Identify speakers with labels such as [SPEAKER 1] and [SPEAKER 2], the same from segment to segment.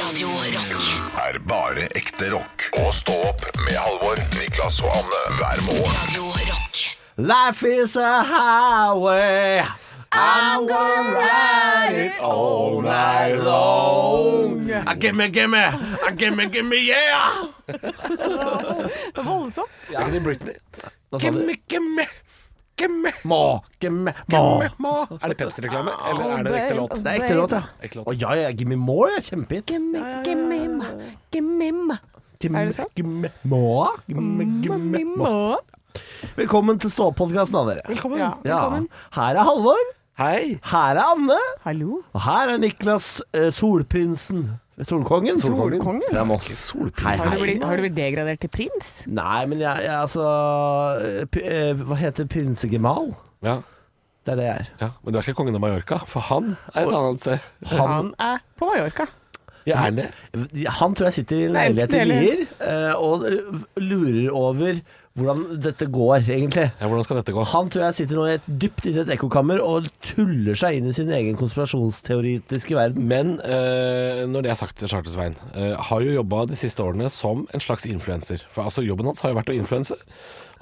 [SPEAKER 1] Radio Rock.
[SPEAKER 2] er bare ekte rock. Og stå opp med Halvor, Niklas og Anne hver morgen.
[SPEAKER 1] Radio Rock.
[SPEAKER 3] Life is a highway. I'm gonna ride it all night long. Ah, gimme, gimme, ah, gimme, gimme, yeah!
[SPEAKER 4] Voldsomt.
[SPEAKER 5] Det er ikke din Britney.
[SPEAKER 3] Gimme,
[SPEAKER 5] Gimme, gimme, gimme,
[SPEAKER 3] må, gimme, må.
[SPEAKER 5] gimme, må. Er det Pepsi-reklame, eller er det en ekte låt?
[SPEAKER 3] Det er ekte låt, ja.
[SPEAKER 5] Ekte låt.
[SPEAKER 3] Å ja, ja, gimme more er kjempehit. Gimme,
[SPEAKER 4] Gimmim, gimmim.
[SPEAKER 3] gimme,
[SPEAKER 4] Er det sant?
[SPEAKER 3] gimme more. Gimme, Mm, gimme, må. Velkommen til Stå-podkasten, da, dere.
[SPEAKER 5] Velkommen.
[SPEAKER 4] Ja,
[SPEAKER 3] Ja.
[SPEAKER 4] velkommen.
[SPEAKER 3] Her er Halvor.
[SPEAKER 5] Hei.
[SPEAKER 3] Her er Anne.
[SPEAKER 4] Hallo.
[SPEAKER 3] Og her er Niklas eh, Solprinsen. Solkongen?
[SPEAKER 4] Solkongen?
[SPEAKER 3] Fra Moss. Hei,
[SPEAKER 4] Har du
[SPEAKER 3] hei.
[SPEAKER 4] blitt, har du blitt degradert til prins?
[SPEAKER 3] Nei, men jeg, jeg altså eh, p eh, Hva heter prinsegemal?
[SPEAKER 5] Ja,
[SPEAKER 3] Det er det jeg er.
[SPEAKER 5] ja, men du er ikke kongen av Mallorca, for han er et annet sted.
[SPEAKER 3] Han,
[SPEAKER 4] Han er på Mallorca.
[SPEAKER 5] Jeg er det.
[SPEAKER 3] han tror jeg sitter i en
[SPEAKER 4] Nei,
[SPEAKER 3] leilighet i
[SPEAKER 4] enten det
[SPEAKER 3] Lier eh, og lurer over hvordan dette går, egentlig.
[SPEAKER 5] Ja, hvordan skal dette gå?
[SPEAKER 3] Han tror jeg sitter nå i et, dypt inne i et ekkokammer og tuller seg inn i sin egen konspirasjonsteoretiske verden.
[SPEAKER 5] Men eh, når det er sagt, Charter-Svein, eh, har jo jobba de siste årene som en slags influenser. For altså, jobben hans har jo vært å influense.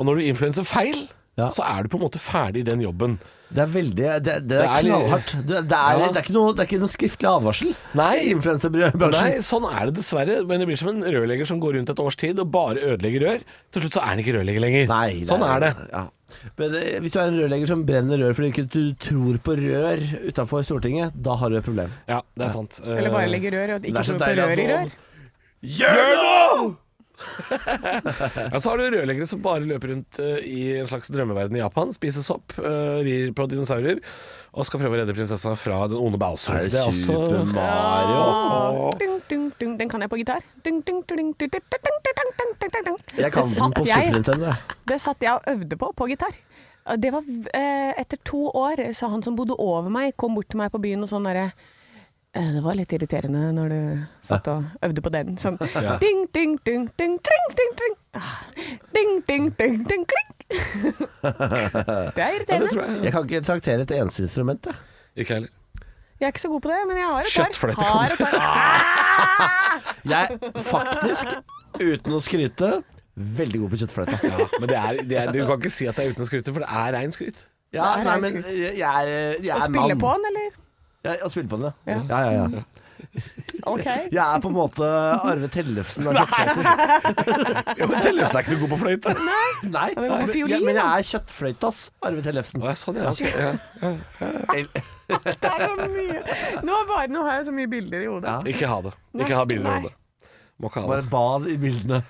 [SPEAKER 5] Og når du influenser feil,
[SPEAKER 3] Ja.
[SPEAKER 5] så er du på en måte ferdig i den jobben.
[SPEAKER 3] Det er veldig Det, det, er
[SPEAKER 5] er litt-
[SPEAKER 3] knallhardt. Det, det, er,
[SPEAKER 5] Ja.
[SPEAKER 3] det, er ikke noe, det er ikke noe skriftlig advarsel
[SPEAKER 5] Nei.
[SPEAKER 3] i influenserbransjen.
[SPEAKER 5] Nei, sånn er det dessverre. Men det blir som en rørlegger som går rundt et års tid og bare ødelegger rør. Til slutt så er han ikke rørlegger lenger.
[SPEAKER 3] Nei,
[SPEAKER 5] sånn er det.
[SPEAKER 3] Ja. Men eh, hvis du er en rørlegger som brenner rør fordi ikke du ikke tror på rør utenfor Stortinget, da har du et problem.
[SPEAKER 5] Ja, det er sant. Eh,
[SPEAKER 4] Eller bare legger rør og
[SPEAKER 3] Eh, Det
[SPEAKER 4] ikke
[SPEAKER 3] er så
[SPEAKER 4] tror på
[SPEAKER 3] deilig at
[SPEAKER 4] rør i
[SPEAKER 3] noen-
[SPEAKER 4] rør.
[SPEAKER 5] Gjør noe! ja, så har du rørleggere som bare løper rundt eh, i en slags drømmeverden i Japan, spiser sopp, eh, rir på dinosaurer og skal prøve å redde prinsessa fra den onde Bowser.
[SPEAKER 3] Er det Super
[SPEAKER 4] Åh. Dung, dung, dung. Den kan jeg på gitar. Dung, dung, dung, dung, dung, dung, dung, dung, dung, dung, dung, dung.
[SPEAKER 3] Jeg kan
[SPEAKER 4] Det
[SPEAKER 3] den
[SPEAKER 4] satt
[SPEAKER 3] på
[SPEAKER 4] jeg-
[SPEAKER 3] Super Nintendo. jeg.
[SPEAKER 4] Det satt jeg og øvde på på gitar. Og Det var eh, Etter to år så han som bodde over meg, kom bort til meg på byen og sånn derre eh, Det var litt irriterende når du satt og øvde på den. Sånn ding, ding, ding, ding, kling, ding, ding. Ah, Ding, ding, ding, ding, kling. Det er
[SPEAKER 5] det
[SPEAKER 4] irriterende.
[SPEAKER 5] tror jeg.
[SPEAKER 3] Jeg kan ikke traktere et eneste instrument, jeg.
[SPEAKER 5] Ikke heller.
[SPEAKER 4] Jeg er ikke så god på det, men jeg har et par.
[SPEAKER 5] Kjøttfløyte kan
[SPEAKER 4] Har
[SPEAKER 3] Jeg
[SPEAKER 4] et par.
[SPEAKER 3] faktisk, uten å skryte, veldig god på kjøttfløyte.
[SPEAKER 5] Ja, men det er, det er, du kan ikke si at det er uten å skryte, for det er rein skryt.
[SPEAKER 3] Ja,
[SPEAKER 4] Det er
[SPEAKER 3] nei,
[SPEAKER 4] helt
[SPEAKER 3] men eh,
[SPEAKER 4] skryt.
[SPEAKER 3] jeg jeg Ah, er, jeg
[SPEAKER 4] Å
[SPEAKER 3] er
[SPEAKER 4] spille
[SPEAKER 3] mann.
[SPEAKER 4] på den, eller?
[SPEAKER 3] Ja, å spille på den, ja.
[SPEAKER 4] Ja.
[SPEAKER 3] ja, ja, ja.
[SPEAKER 4] OK.
[SPEAKER 3] Jeg er på en måte Arve Tellefsen av kjøttfløyter.
[SPEAKER 5] Ja, men Tellefsen er ikke noe god på fløyte.
[SPEAKER 3] Nei,
[SPEAKER 4] men hvorfor
[SPEAKER 3] men-
[SPEAKER 4] fiolin,
[SPEAKER 3] ja, men jeg
[SPEAKER 4] da?
[SPEAKER 3] er kjøttfløytas Arve Tellefsen.
[SPEAKER 5] Å, ja, sånn, ja. ok, ja.
[SPEAKER 4] Det er så mye. Nå, bare, nå har jeg så mye bilder i hodet.
[SPEAKER 3] Ja.
[SPEAKER 5] Ikke ha det. Ikke ha bilder
[SPEAKER 4] Nei.
[SPEAKER 5] av det. Må ikke ha
[SPEAKER 3] Bare
[SPEAKER 5] det.
[SPEAKER 3] bad i bildene.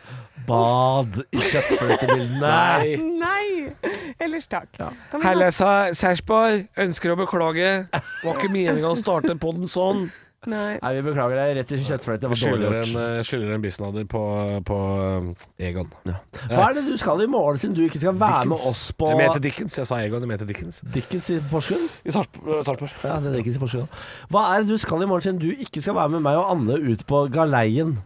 [SPEAKER 3] Bad i kjøttfløytebildene.
[SPEAKER 5] Nei.
[SPEAKER 4] Nei! Ellers takk. Kan vi gå-
[SPEAKER 5] Helle sa Sarpsborg ønsker å beklage. Var ikke meninga å starte podden sånn.
[SPEAKER 4] Nei.
[SPEAKER 3] Nei, vi beklager deg. Rett i kjøttfløyte. Det var
[SPEAKER 5] Skylder
[SPEAKER 3] dårlig
[SPEAKER 5] en,
[SPEAKER 3] gjort.
[SPEAKER 5] eh, skylder en bisnader på, på eh, Egon.
[SPEAKER 3] Hva er det du skal i morgen, siden du ikke skal være med oss på
[SPEAKER 5] Jeg mente Dickens. Jeg sa Egon, jeg mente Dickens.
[SPEAKER 3] Dickens i eh, Porsgrunn?
[SPEAKER 5] I Sarpsborg. Sarpsborg.
[SPEAKER 3] Ja, det er Dickens i Porsgrunn. Hva er det du skal i morgen, siden du ikke skal være med meg og Anne ut på galeien?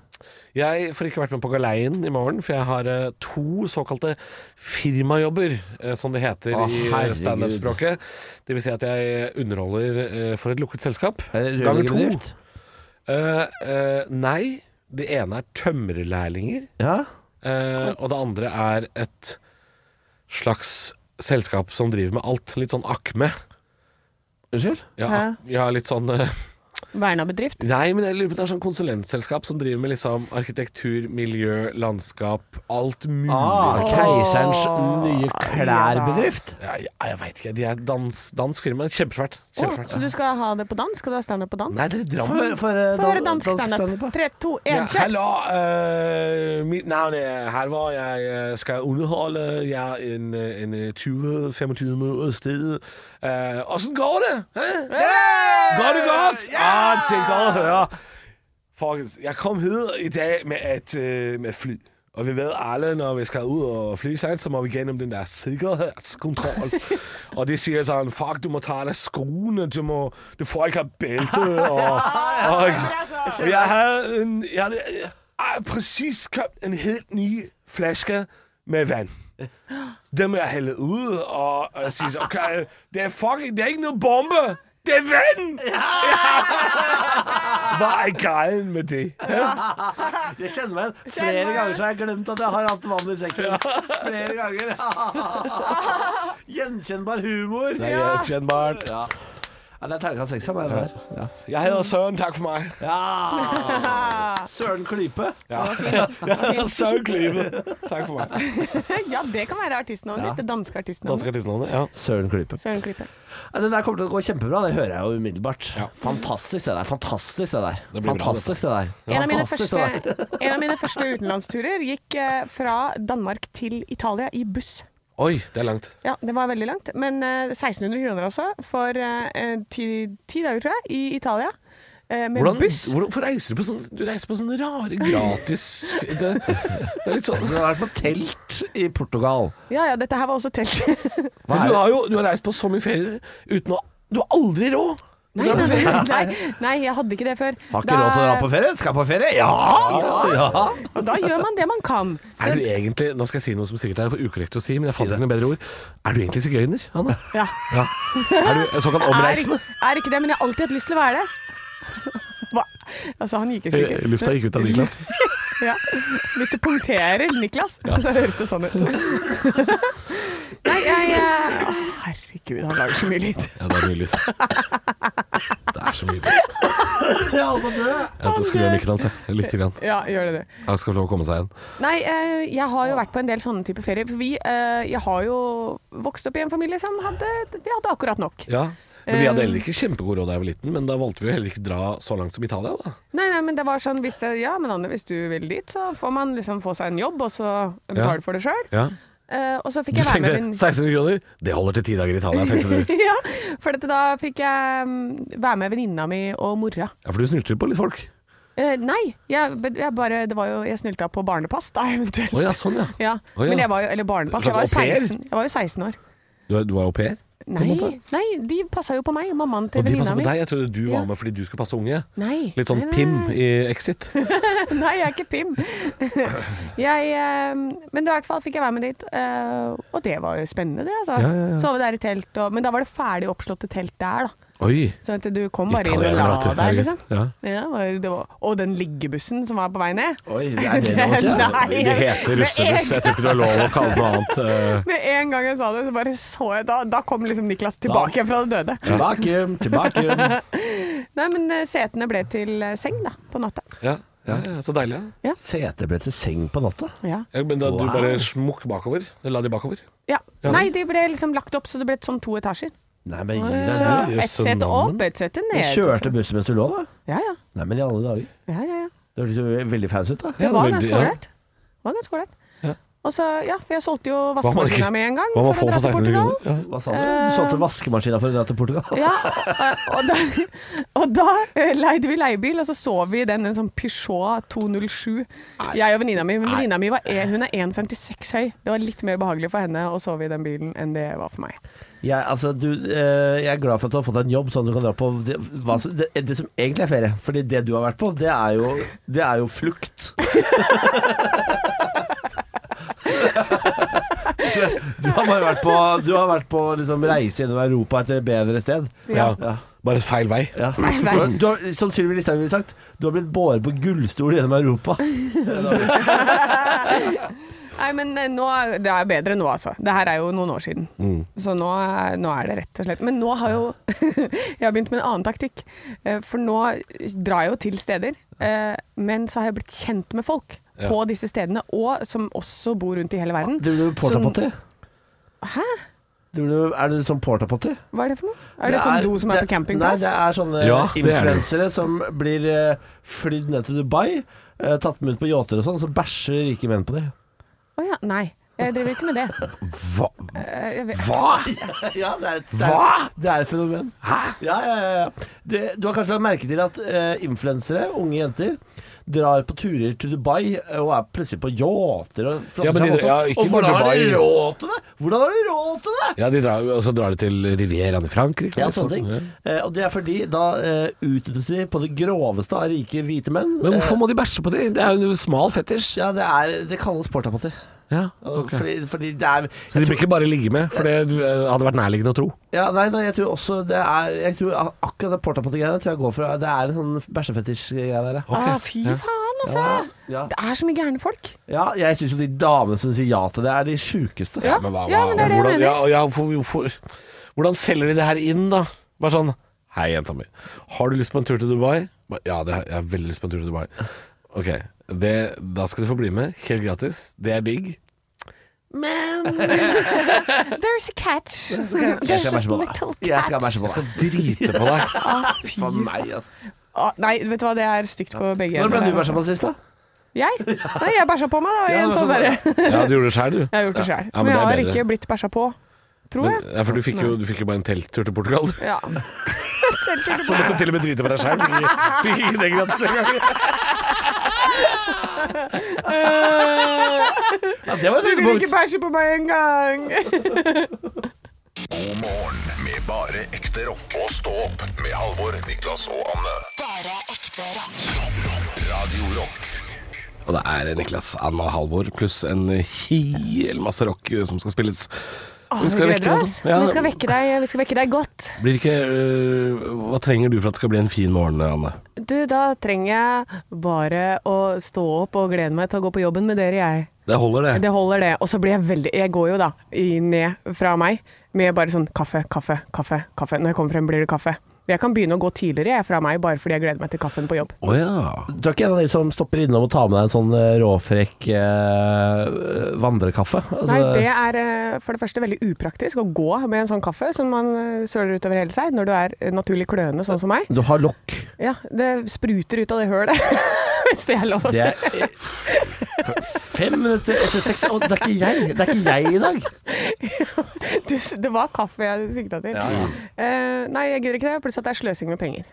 [SPEAKER 5] Jeg får ikke vært med på galeien i morgen, for jeg har eh, to såkalte firmajobber, eh, som det heter
[SPEAKER 3] Å,
[SPEAKER 5] i
[SPEAKER 3] herregud.
[SPEAKER 5] standup-språket. Det vil si at jeg underholder eh, for et lukket selskap.
[SPEAKER 3] Er det
[SPEAKER 5] Ganger to.
[SPEAKER 3] rørleggerbedrift?
[SPEAKER 5] Eh, eh, nei, det ene er tømrerlærlinger.
[SPEAKER 3] Ja?
[SPEAKER 5] Eh, og det andre er et slags selskap som driver med alt. Litt sånn akme.
[SPEAKER 3] Unnskyld?
[SPEAKER 5] Ja,
[SPEAKER 4] Hæ?
[SPEAKER 5] ja litt sånn eh,
[SPEAKER 4] Verna bedrift.
[SPEAKER 5] Nei, men jeg lurer på om det er sånn konsulentselskap som driver med liksom arkitektur, miljø, landskap, alt mulig.
[SPEAKER 3] Ah, Keiserens nye klærbedrift?
[SPEAKER 5] Ja, ja, jeg veit ikke. De er dans, dansk firma. Kjempesvært.
[SPEAKER 4] Å,
[SPEAKER 5] Kjempesvært.
[SPEAKER 4] så du skal ha det på dans? Skal du ha standup på dans?
[SPEAKER 5] Nei, dere
[SPEAKER 3] For,
[SPEAKER 5] Drammen.
[SPEAKER 3] for, eh,
[SPEAKER 4] Få høre
[SPEAKER 3] dan-
[SPEAKER 4] dansk standup.
[SPEAKER 3] standup, ja.
[SPEAKER 4] Tre, to,
[SPEAKER 5] Ja,
[SPEAKER 4] én, kjør!
[SPEAKER 5] hallo, eh, mitt navn er Halvor. Jeg eh, skal underholde. Jeg er en, eh, en eh, 20-25 minutter sted. Eh, Åssen går det? Hæ? Går det godt? Ah, det er godt å høre. Folkens, jeg kom hit i dag med, at, øh, med fly. Og vi ved alle, når vi skal ud og fly, sant, så må vi gjennom den der sikkerhedskontrol. og de sier sånn, fuck, du må ta av deg skoene, du, må, du får ikke ha bælte. Og, og, og jeg hadde en, jeg hadde, ah, præcis købt en helt ny flaske med vand. Det må jeg hælde ud og, og sige, okay, det er fucking, det er ikke noget bombe. Det er vann! Ja! Hva er greien med det?
[SPEAKER 3] Jeg kjenner meg igjen. Flere ganger så har jeg glemt at jeg har hatt vann i sekken. Flere ganger. Gjenkjennbar humor.
[SPEAKER 5] Det er gjenkjennbart.
[SPEAKER 3] Ja. Ja, det er terningkast seks fra meg. det der. Ja.
[SPEAKER 5] Jeg heter Søren, takk for meg.
[SPEAKER 3] Ja. Søren Klype.
[SPEAKER 5] Jeg heter Søren Klyve. Takk for meg.
[SPEAKER 4] ja, det kan være artistnavnet ditt. Det danske artistnavnet.
[SPEAKER 5] Danske artistnavnet? Ja.
[SPEAKER 3] Søren Klype.
[SPEAKER 4] Søren Klype.
[SPEAKER 3] Ja, det der kommer til å gå kjempebra. Det hører jeg jo umiddelbart. Fantastisk det der. Fantastisk det der.
[SPEAKER 5] Det blir bra,
[SPEAKER 3] fantastisk det der.
[SPEAKER 4] En av, mine
[SPEAKER 3] Fantastisk
[SPEAKER 4] første,
[SPEAKER 3] det der.
[SPEAKER 4] en av mine første utenlandsturer gikk eh, fra Danmark til Italia i buss.
[SPEAKER 5] Oi, det er langt.
[SPEAKER 4] Ja, det var veldig langt. Men eh, 1600 kroner også, for eh, ti, ti dager, tror jeg, i Italia. eh, med
[SPEAKER 5] Hvordan,
[SPEAKER 4] buss.
[SPEAKER 5] hvordan, hvorfor reiser du på sånn Du reiser på sånne rare gratis Det, det er litt sånn
[SPEAKER 3] Du har vært på telt i Portugal.
[SPEAKER 4] Ja ja, dette her var også telt.
[SPEAKER 5] Men du har jo du har reist på så mye ferier uten å Du har aldri råd!
[SPEAKER 4] nei, nei, nei, nei, nei, jeg hadde ikke det før.
[SPEAKER 3] Har ikke råd til å dra på ferie? Skal på ferie? Ja! ja.
[SPEAKER 4] Og da gjør man det man kan.
[SPEAKER 5] Er du egentlig Nå skal jeg si noe som sikkert er ukorrekt å si, men jeg fant ikke noe bedre ord. Er du egentlig sigøyner, Hanne?
[SPEAKER 4] Ja.
[SPEAKER 5] Ja. Er du en såkalt
[SPEAKER 4] Er,
[SPEAKER 5] omreisende?
[SPEAKER 4] er ikke det, men jeg har alltid hatt lyst til å være det. Hva? Altså, han gikk i stykker.
[SPEAKER 5] Eh, Lufta gikk ut av Niklas.
[SPEAKER 4] Ja. Hvis du punkterer Niklas, så høres det sånn ut. Nei, jeg eh, å, Herregud, han lager så mye lyd.
[SPEAKER 5] Ja, det er mye lys. Det er så mye lys.
[SPEAKER 4] altså,
[SPEAKER 5] Jeg skrur av mikken hans, jeg. Lite grann.
[SPEAKER 4] Ja, gjør det det.
[SPEAKER 5] Han skal få lov å komme seg igjen.
[SPEAKER 4] Nei, eh, jeg har jo vært på en del sånne type ferier. For vi, eh, jeg har jo vokst opp i en familie som hadde, de hadde akkurat nok.
[SPEAKER 5] Ja. Men vi hadde heller
[SPEAKER 4] Eh,
[SPEAKER 5] ikke kjempegod råd da jeg var liten, men da valgte vi jo heller ikke dra så langt som Italia, da.
[SPEAKER 4] Nei, nei, men det var sånn hvis det, Ja, men Anne, hvis du vil dit, så får man liksom få seg en jobb, og så betale for det sjøl.
[SPEAKER 5] Ja.
[SPEAKER 4] Eh, og så fikk
[SPEAKER 5] Du
[SPEAKER 4] jeg være
[SPEAKER 5] tenkte
[SPEAKER 4] med min
[SPEAKER 5] 1600 kroner, det holder til ti dager i Italia, tenkte du.
[SPEAKER 4] Ja, for dette da fikk jeg mm, være med venninna mi og mora.
[SPEAKER 5] Ja, for du snylter på litt folk.
[SPEAKER 4] Eh, nei, jeg, jeg bare Det var jo Jeg snylta på barnepass, da, eventuelt.
[SPEAKER 5] Å ja, sånn ja.
[SPEAKER 4] Ja,
[SPEAKER 5] Å ja.
[SPEAKER 4] Men jeg var jo Eller barnepass. Jeg var jo
[SPEAKER 5] Slags au pair?
[SPEAKER 4] 16, jeg var jo 16 år.
[SPEAKER 5] Du, er- du var au pair?
[SPEAKER 4] Nei,
[SPEAKER 5] måte?
[SPEAKER 4] nei, de passa jo på meg. Mammaen til
[SPEAKER 5] Og de
[SPEAKER 4] venninna
[SPEAKER 5] passet på
[SPEAKER 4] mi.
[SPEAKER 5] deg? Jeg trodde du var
[SPEAKER 4] Ja.
[SPEAKER 5] med fordi du skulle passe unge.
[SPEAKER 4] Nei.
[SPEAKER 5] Litt sånn
[SPEAKER 4] nei, nei,
[SPEAKER 5] Pim
[SPEAKER 4] nei.
[SPEAKER 5] i Exit.
[SPEAKER 4] Nei, jeg er ikke Pim. jeg, eh, men i hvert fall fikk jeg være med dit, eh, og det var jo spennende, det. Altså.
[SPEAKER 5] Ja, ja, ja.
[SPEAKER 4] Sove der i telt, og, men da var det ferdig oppslåtte telt der, da.
[SPEAKER 5] Oi.
[SPEAKER 4] Sånn at du kom bare inn og
[SPEAKER 5] Italienere, vet
[SPEAKER 4] la
[SPEAKER 5] du.
[SPEAKER 4] deg, liksom.
[SPEAKER 5] Ja.
[SPEAKER 4] Ja, var- det var, og den liggebussen som var på vei ned.
[SPEAKER 3] Oi, det er det lov å si?
[SPEAKER 4] Nei,
[SPEAKER 5] Det heter
[SPEAKER 4] med
[SPEAKER 5] russebuss, jeg tror ikke du har lov å kalle det noe annet. eh.
[SPEAKER 4] en- Med en gang jeg sa det, så bare så jeg Da, da kom liksom Niklas tilbake igjen fra det døde.
[SPEAKER 3] Tilbake, tilbake.
[SPEAKER 4] Nei, men eh, setene ble til eh, seng, da, på natta.
[SPEAKER 5] Ja, ja, ja, så deilig. Ja.
[SPEAKER 3] Sete ble til seng på natta.
[SPEAKER 4] Ja.
[SPEAKER 5] Ja, men da du
[SPEAKER 3] Wow.
[SPEAKER 5] bare smukk bakover? La de bakover?
[SPEAKER 4] ja.
[SPEAKER 5] Ja.
[SPEAKER 4] Nei, de ble liksom lagt opp, så det ble sånn to etasjer.
[SPEAKER 3] Nei, men gi deg
[SPEAKER 4] Så
[SPEAKER 5] det er jo
[SPEAKER 4] ett sete
[SPEAKER 5] søndagen.
[SPEAKER 4] opp, ett sete
[SPEAKER 3] Du
[SPEAKER 4] ned.
[SPEAKER 3] kjørte bussen mens du lå, da?
[SPEAKER 4] Ja, ja.
[SPEAKER 3] Nei, men i alle dager.
[SPEAKER 4] ja, ja, ja.
[SPEAKER 3] Det hørtes jo veldig fancy ut, da.
[SPEAKER 4] Det
[SPEAKER 5] Ja,
[SPEAKER 4] var
[SPEAKER 5] veldig-
[SPEAKER 4] ganske
[SPEAKER 5] ja.
[SPEAKER 4] ålreit. Det var ganske ålreit.
[SPEAKER 5] Ja.
[SPEAKER 4] Og så, ja, for jeg solgte jo
[SPEAKER 5] man
[SPEAKER 4] vaskemaskina
[SPEAKER 5] ikke-
[SPEAKER 4] mi en gang
[SPEAKER 5] Hva
[SPEAKER 4] for
[SPEAKER 5] man
[SPEAKER 4] å
[SPEAKER 5] får
[SPEAKER 4] dra
[SPEAKER 5] for
[SPEAKER 4] til
[SPEAKER 5] 1600
[SPEAKER 4] Portugal.
[SPEAKER 5] kroner? Ja.
[SPEAKER 3] Hva sa du? Du solgte vaskemaskina for å dra til Portugal?
[SPEAKER 4] Ja, og, og, da, og da eh, leide vi leiebil, og så sov vi i den, en sånn Peugeot 207. Jeg og venninna mi. Men venninna mi var, eh, hun er 1,56 høy. Det var litt mer behagelig for henne å sove i den bilen enn det var for meg.
[SPEAKER 3] Jeg, altså, du, eh, jeg er glad for at du har fått deg en jobb, sånn at du kan dra på det, hva, som- det, det som egentlig er ferie. Fordi det du har vært på, det er jo, det er jo flukt. Du, du har bare vært på, du har vært på liksom, reise gjennom Europa etter et bedre sted.
[SPEAKER 5] Ja.
[SPEAKER 3] Ja.
[SPEAKER 5] Bare feil vei.
[SPEAKER 3] Ja. Du har, du har, som Sylvi Listhaug ville sagt, du har blitt båret på gullstol gjennom Europa.
[SPEAKER 4] Nei, men eh, nå, det er bedre nå, altså. Det her er jo noen år siden.
[SPEAKER 3] Mm.
[SPEAKER 4] Så nå, er- nå er det rett og slett Men nå har jo Jeg har begynt med en annen taktikk. Eh, For nå drar jeg jo til steder, eh, men så har jeg blitt kjent med folk.
[SPEAKER 5] Ja.
[SPEAKER 4] På disse stedene, og som også bor rundt i hele verden.
[SPEAKER 3] Driver du porta
[SPEAKER 4] Så-
[SPEAKER 3] potty?
[SPEAKER 4] Hæ?
[SPEAKER 3] Driver du- Er du sånn porta potty?
[SPEAKER 4] Hva er det for noe? Er det, sånn do som er
[SPEAKER 3] det-
[SPEAKER 4] på campingplass?
[SPEAKER 3] Nei, det er sånne
[SPEAKER 5] Ja, det er det.
[SPEAKER 3] influensere som blir eh, flydd ned til Dubai, eh, tatt med ut på yachter og sånn, så bæsjer rike menn på dem.
[SPEAKER 4] Å ja, nei. Jeg driver ikke med det.
[SPEAKER 5] Hva?
[SPEAKER 4] Eh, Jeg vet.
[SPEAKER 3] ja, det er, et- det er,
[SPEAKER 5] Hva?!
[SPEAKER 3] Det er et fenomen. Hæ? Ja, ja, ja, ja. Det, du har kanskje lagt merke til at eh, influensere, unge jenter, drar på turer til Dubai eh, og er plutselig på yachter og flapper
[SPEAKER 5] Ja, men
[SPEAKER 3] seg
[SPEAKER 5] de-
[SPEAKER 3] voldsomt.
[SPEAKER 5] ja, ikke
[SPEAKER 3] Og hvordan
[SPEAKER 5] bare
[SPEAKER 3] har de
[SPEAKER 5] Dubai.
[SPEAKER 3] råd til det?! Hvordan har de råd til det?!
[SPEAKER 5] Ja, sånn, de drar, og så drar de til Rivieraen i Frankrike.
[SPEAKER 3] Ja, sånne ting. Eh, og det er fordi da eh, utnyttes de på det groveste av rike hvite menn.
[SPEAKER 5] Eh,
[SPEAKER 3] Eh,
[SPEAKER 5] Men hvorfor må de bæsje på det? Det er jo en smal fetisj.
[SPEAKER 3] Ja, det, er, det kalles portapotter.
[SPEAKER 5] Ja,
[SPEAKER 3] Og
[SPEAKER 5] ok.
[SPEAKER 3] fordi, fordi det er
[SPEAKER 5] Så de bør ikke bare ligge med, for det eh, hadde vært nærliggende å tro.
[SPEAKER 3] Ja, nei, nei, jeg tror også det er jeg tror a- Akkurat det portapottegreiene tror jeg går for Det er en sånn bæsjefetisj-greie der, ja.
[SPEAKER 4] Ah, fy faen, altså.
[SPEAKER 3] Ja.
[SPEAKER 4] Det er så mye gærne folk.
[SPEAKER 3] ja, jeg syns jo de damene som sier ja til det, er de sjukeste.
[SPEAKER 4] Ja,
[SPEAKER 5] Men hva-
[SPEAKER 4] ja,
[SPEAKER 5] hva-
[SPEAKER 4] men det er det jeg
[SPEAKER 5] hvordan,
[SPEAKER 4] mener.
[SPEAKER 5] ja, ja, hvorfor- hvorfor- hvordan selger de det her inn, da? Bare sånn Hei, jenta mi. Har du lyst på en tur til Dubai? Ba- Ja, det, har- jeg har veldig lyst på en tur til Dubai. Ok, det, da skal du få bli med. Helt gratis. Det er digg.
[SPEAKER 4] There's a catch.
[SPEAKER 3] Jeg
[SPEAKER 4] There's
[SPEAKER 3] skal
[SPEAKER 4] a
[SPEAKER 3] bæsje på
[SPEAKER 4] little
[SPEAKER 3] deg. Jeg skal
[SPEAKER 4] catch.
[SPEAKER 3] bæsje på deg.
[SPEAKER 5] Drite på deg.
[SPEAKER 4] Ah, fy
[SPEAKER 3] For
[SPEAKER 4] faen.
[SPEAKER 3] meg, altså.
[SPEAKER 4] Ah, nei, vet du hva, det er stygt på begge.
[SPEAKER 3] Når ble du
[SPEAKER 4] ender der,
[SPEAKER 3] bæsja på sist, da?
[SPEAKER 4] altså. Jeg? Nei, jeg bæsja på meg, da. I
[SPEAKER 3] Ja, det
[SPEAKER 4] en
[SPEAKER 3] var
[SPEAKER 4] sånn
[SPEAKER 3] sånn,
[SPEAKER 4] derre
[SPEAKER 5] Ja, du gjorde det sjøl, du.
[SPEAKER 4] Jeg har gjort det sjøl.
[SPEAKER 5] Ja,
[SPEAKER 4] men,
[SPEAKER 5] men det
[SPEAKER 4] jeg
[SPEAKER 5] er
[SPEAKER 4] har
[SPEAKER 5] bedre.
[SPEAKER 4] ikke blitt bæsja på, tror
[SPEAKER 5] Men,
[SPEAKER 4] jeg.
[SPEAKER 5] ja, for du fikk, jo, du fikk jo bare en telttur til Portugal.
[SPEAKER 3] eh,
[SPEAKER 5] du.
[SPEAKER 4] Ja. Selv ikke på.
[SPEAKER 5] Så måtte du til og med drite på deg sjøl. Fikk, ikke- fikk ikke det gratis engang.
[SPEAKER 3] Ja, det var et
[SPEAKER 4] Du vil ikke
[SPEAKER 3] høydepunkt.
[SPEAKER 4] bæsje på meg engang!
[SPEAKER 2] God morgen med bare ekte rock. Og stå opp med Halvor, Niklas og Anne.
[SPEAKER 6] Bare ekte rock.
[SPEAKER 2] Radio Rock.
[SPEAKER 5] Og det er Niklas, Anna og Halvor pluss en hel masse rock eh, som skal spilles.
[SPEAKER 4] Vi
[SPEAKER 5] skal vekke deg, altså. Ja.
[SPEAKER 4] Vi skal vekke deg, vi skal vekke deg godt.
[SPEAKER 5] Blir ikke, øh, hva trenger du for at det skal bli en fin morgen, Anne?
[SPEAKER 4] Du, da trenger jeg bare å stå opp og glede meg til å gå på jobben med dere, jeg.
[SPEAKER 5] Det holder, det.
[SPEAKER 4] Det holder, det. Og så blir jeg veldig Jeg går jo da i- ned fra meg med bare sånn kaffe, kaffe, kaffe, kaffe. Når jeg kommer frem, blir det kaffe. Jeg kan begynne å gå tidligere jeg, fra meg, bare fordi jeg gleder meg til kaffen på jobb.
[SPEAKER 5] Å ja.
[SPEAKER 3] Du er ikke en av de som stopper innom og tar med deg en sånn eh, råfrekk eh, vandrekaffe? Altså,
[SPEAKER 4] Nei, det er eh, for det første veldig upraktisk å gå med en sånn kaffe som man eh, søler utover hele seg, når du er eh, naturlig kløende, sånn som meg.
[SPEAKER 3] Du har lokk.
[SPEAKER 4] Ja, det spruter ut av det hølet, hvis det er lov å
[SPEAKER 3] Det
[SPEAKER 4] si.
[SPEAKER 3] er fem minutter etter seks Og det er ikke jeg, det er ikke jeg i dag.
[SPEAKER 4] Du, det var kaffe jeg sikta til. Eh, nei, jeg gidder ikke det. Pluss at det er sløsing med penger.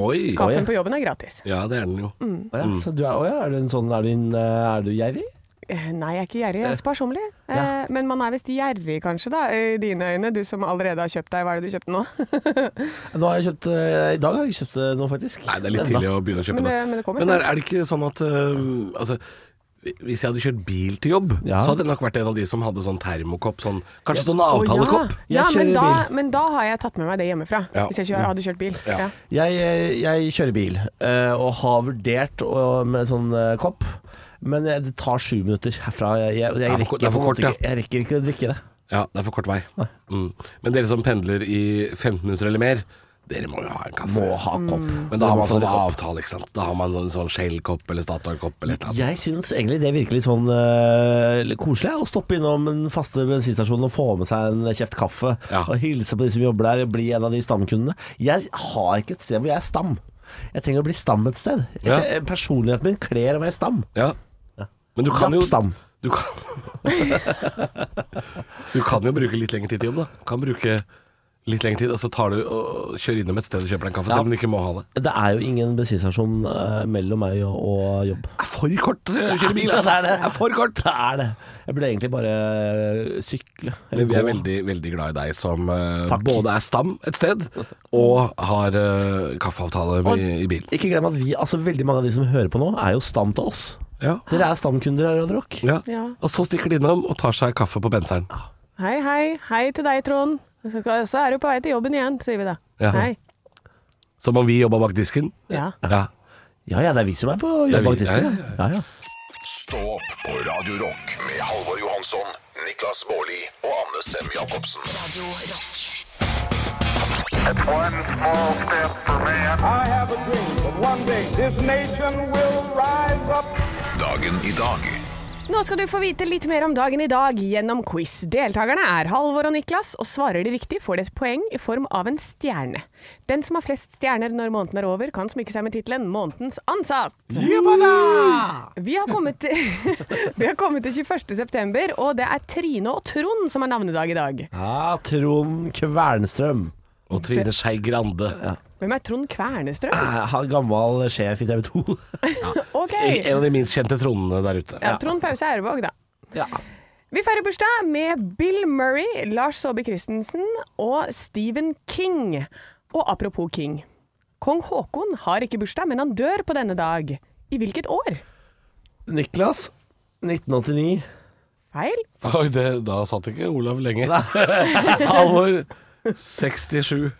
[SPEAKER 5] Oi.
[SPEAKER 4] Kaffen på jobben er gratis.
[SPEAKER 5] Ja, det er den jo.
[SPEAKER 4] Mm.
[SPEAKER 3] Å ja, så du er, å ja, er du en sånn Er du, en, eh, er du gjerrig?
[SPEAKER 4] Eh, nei, jeg er ikke gjerrig. Jeg er sparsommelig. Eh, Men man er visst gjerrig, kanskje, da, i dine øyne. Du som allerede har kjøpt deg Hva er det du kjøpte nå?
[SPEAKER 3] Nå har jeg kjøpt eh, I dag har jeg ikke kjøpt eh, noe, faktisk.
[SPEAKER 5] Nei, det er litt
[SPEAKER 3] Enda.
[SPEAKER 5] tidlig å begynne å kjøpe
[SPEAKER 4] Men det-
[SPEAKER 5] nå.
[SPEAKER 4] men det kommer
[SPEAKER 5] er, er det ikke sånn at øh, Altså, hvis jeg hadde kjørt bil til jobb,
[SPEAKER 3] Ja.
[SPEAKER 5] så hadde jeg nok vært en av de som hadde sånn termokopp, sånn Kanskje sånn avtalekopp?
[SPEAKER 4] Å, ja, ja
[SPEAKER 3] Jeg
[SPEAKER 4] men,
[SPEAKER 3] kjører
[SPEAKER 4] da,
[SPEAKER 3] bil.
[SPEAKER 4] men da har jeg tatt med meg det hjemmefra.
[SPEAKER 5] Ja.
[SPEAKER 4] Hvis jeg kjører, hadde kjørt bil.
[SPEAKER 5] Ja.
[SPEAKER 4] Ja.
[SPEAKER 3] Jeg, eh, jeg kjører bil eh, og har vurdert å- med sånn eh, kopp, men eh, det tar sju minutter herfra. Jeg, jeg, jeg,
[SPEAKER 5] Det er for-
[SPEAKER 3] rekker,
[SPEAKER 5] det er for
[SPEAKER 3] på en
[SPEAKER 5] kort,
[SPEAKER 3] måte
[SPEAKER 5] ja.
[SPEAKER 3] ikke, jeg rekker ikke å drikke det.
[SPEAKER 5] Ja, det er for kort vei. Mm. Men dere som pendler i 15 minutter eller mer, dere må jo ha en kaffe.
[SPEAKER 3] Må ha kopp.
[SPEAKER 5] Men da har man sånn avtale, ikke sant. Da har man sånn, sånn Shell-kopp eller Statoil-kopp eller et eller annet.
[SPEAKER 3] Jeg syns egentlig det er virkelig sånn eh, koselig ja, å stoppe innom den faste bensinstasjonen og få med seg en kjeft kaffe
[SPEAKER 5] Ja.
[SPEAKER 3] og hilse på de som jobber der og bli en av de stamkundene. Jeg har ikke et sted hvor jeg er stam. Jeg trenger å bli stam et sted. Jeg,
[SPEAKER 5] Ja.
[SPEAKER 3] kjen- Personligheten min kler å være stam.
[SPEAKER 5] Ja. Men du kan jo
[SPEAKER 3] Lappstam.
[SPEAKER 5] Du kan, du kan jo bruke litt lengre tid til jobb, da. Kan bruke litt lengre tid, og så tar du og kjører innom et sted og kjøper deg en kaffe, selv om du ikke må ha det.
[SPEAKER 3] Det er jo ingen bensinstasjon eh, mellom meg og, og jobb.
[SPEAKER 5] Det er for kort å kjøre bil,
[SPEAKER 3] Ja,
[SPEAKER 5] altså.
[SPEAKER 3] det er det.
[SPEAKER 5] Det er for kort.
[SPEAKER 3] Det er det. Jeg burde egentlig bare eh, sykle.
[SPEAKER 5] Men vi er
[SPEAKER 3] gå.
[SPEAKER 5] veldig, veldig glad i deg som eh,
[SPEAKER 3] Takk.
[SPEAKER 5] både er stam et sted, og har eh, kaffeavtale
[SPEAKER 3] Og-
[SPEAKER 5] med, i bil.
[SPEAKER 3] Ikke glem at vi, altså veldig mange av de som hører på nå, er jo stam til oss.
[SPEAKER 5] Ja.
[SPEAKER 3] Dere er stamkunder her, Radio Rock.
[SPEAKER 5] Ja.
[SPEAKER 4] Ja.
[SPEAKER 5] Og så stikker de innom og tar seg kaffe på benseren.
[SPEAKER 4] Hei, hei. Hei til deg, Trond. Så er du på vei til jobben igjen, sier vi da.
[SPEAKER 5] Ja.
[SPEAKER 4] Hei.
[SPEAKER 5] Som om vi jobba bak disken.
[SPEAKER 4] Ja.
[SPEAKER 5] Ja.
[SPEAKER 3] Ja ja, det er vi som er på
[SPEAKER 5] Det er
[SPEAKER 3] jobb bak
[SPEAKER 5] vi.
[SPEAKER 3] disken.
[SPEAKER 5] Ja,
[SPEAKER 3] Ja, ja. ja.
[SPEAKER 2] Stå opp på Radio Rock med Halvor Johansson, Niklas Baarli og Anne Sem Jacobsen.
[SPEAKER 6] Radio rock.
[SPEAKER 7] It's one small step for man.
[SPEAKER 8] I have a dream that one day this nation will rise up.
[SPEAKER 2] Dagen i dag
[SPEAKER 4] Nå skal du få vite litt mer om dagen i dag gjennom quiz. Deltakerne er Halvor og Niklas, og svarer de riktig får de et poeng i form av en stjerne. Den som har flest stjerner når måneden er over, kan smykke seg med tittelen 'Månedens ansatt'. Mm. Vi har kommet til, vi har kommet til 21. september, og det er Trine og Trond som har navnedag i dag.
[SPEAKER 3] Ja, Trond Kvernstrøm.
[SPEAKER 5] Og Trine Skei Grande.
[SPEAKER 4] Hvem er Trond Kvernestrøm?
[SPEAKER 3] Eh, Han gammel sjef i TV 2.
[SPEAKER 4] Ok,
[SPEAKER 5] En av de minst kjente tronene der ute.
[SPEAKER 4] ja, Trond Pause Ervåg, da.
[SPEAKER 3] Ja.
[SPEAKER 4] Vi feirer bursdag med Bill Murray, Lars Saabye Christensen og Stephen King. Og apropos King. Kong Haakon har ikke bursdag, men han dør på denne dag. I hvilket år?
[SPEAKER 3] Niklas, 1989.
[SPEAKER 4] feil.
[SPEAKER 5] Oi, det, da satt ikke Olav lenge. Halvor 67.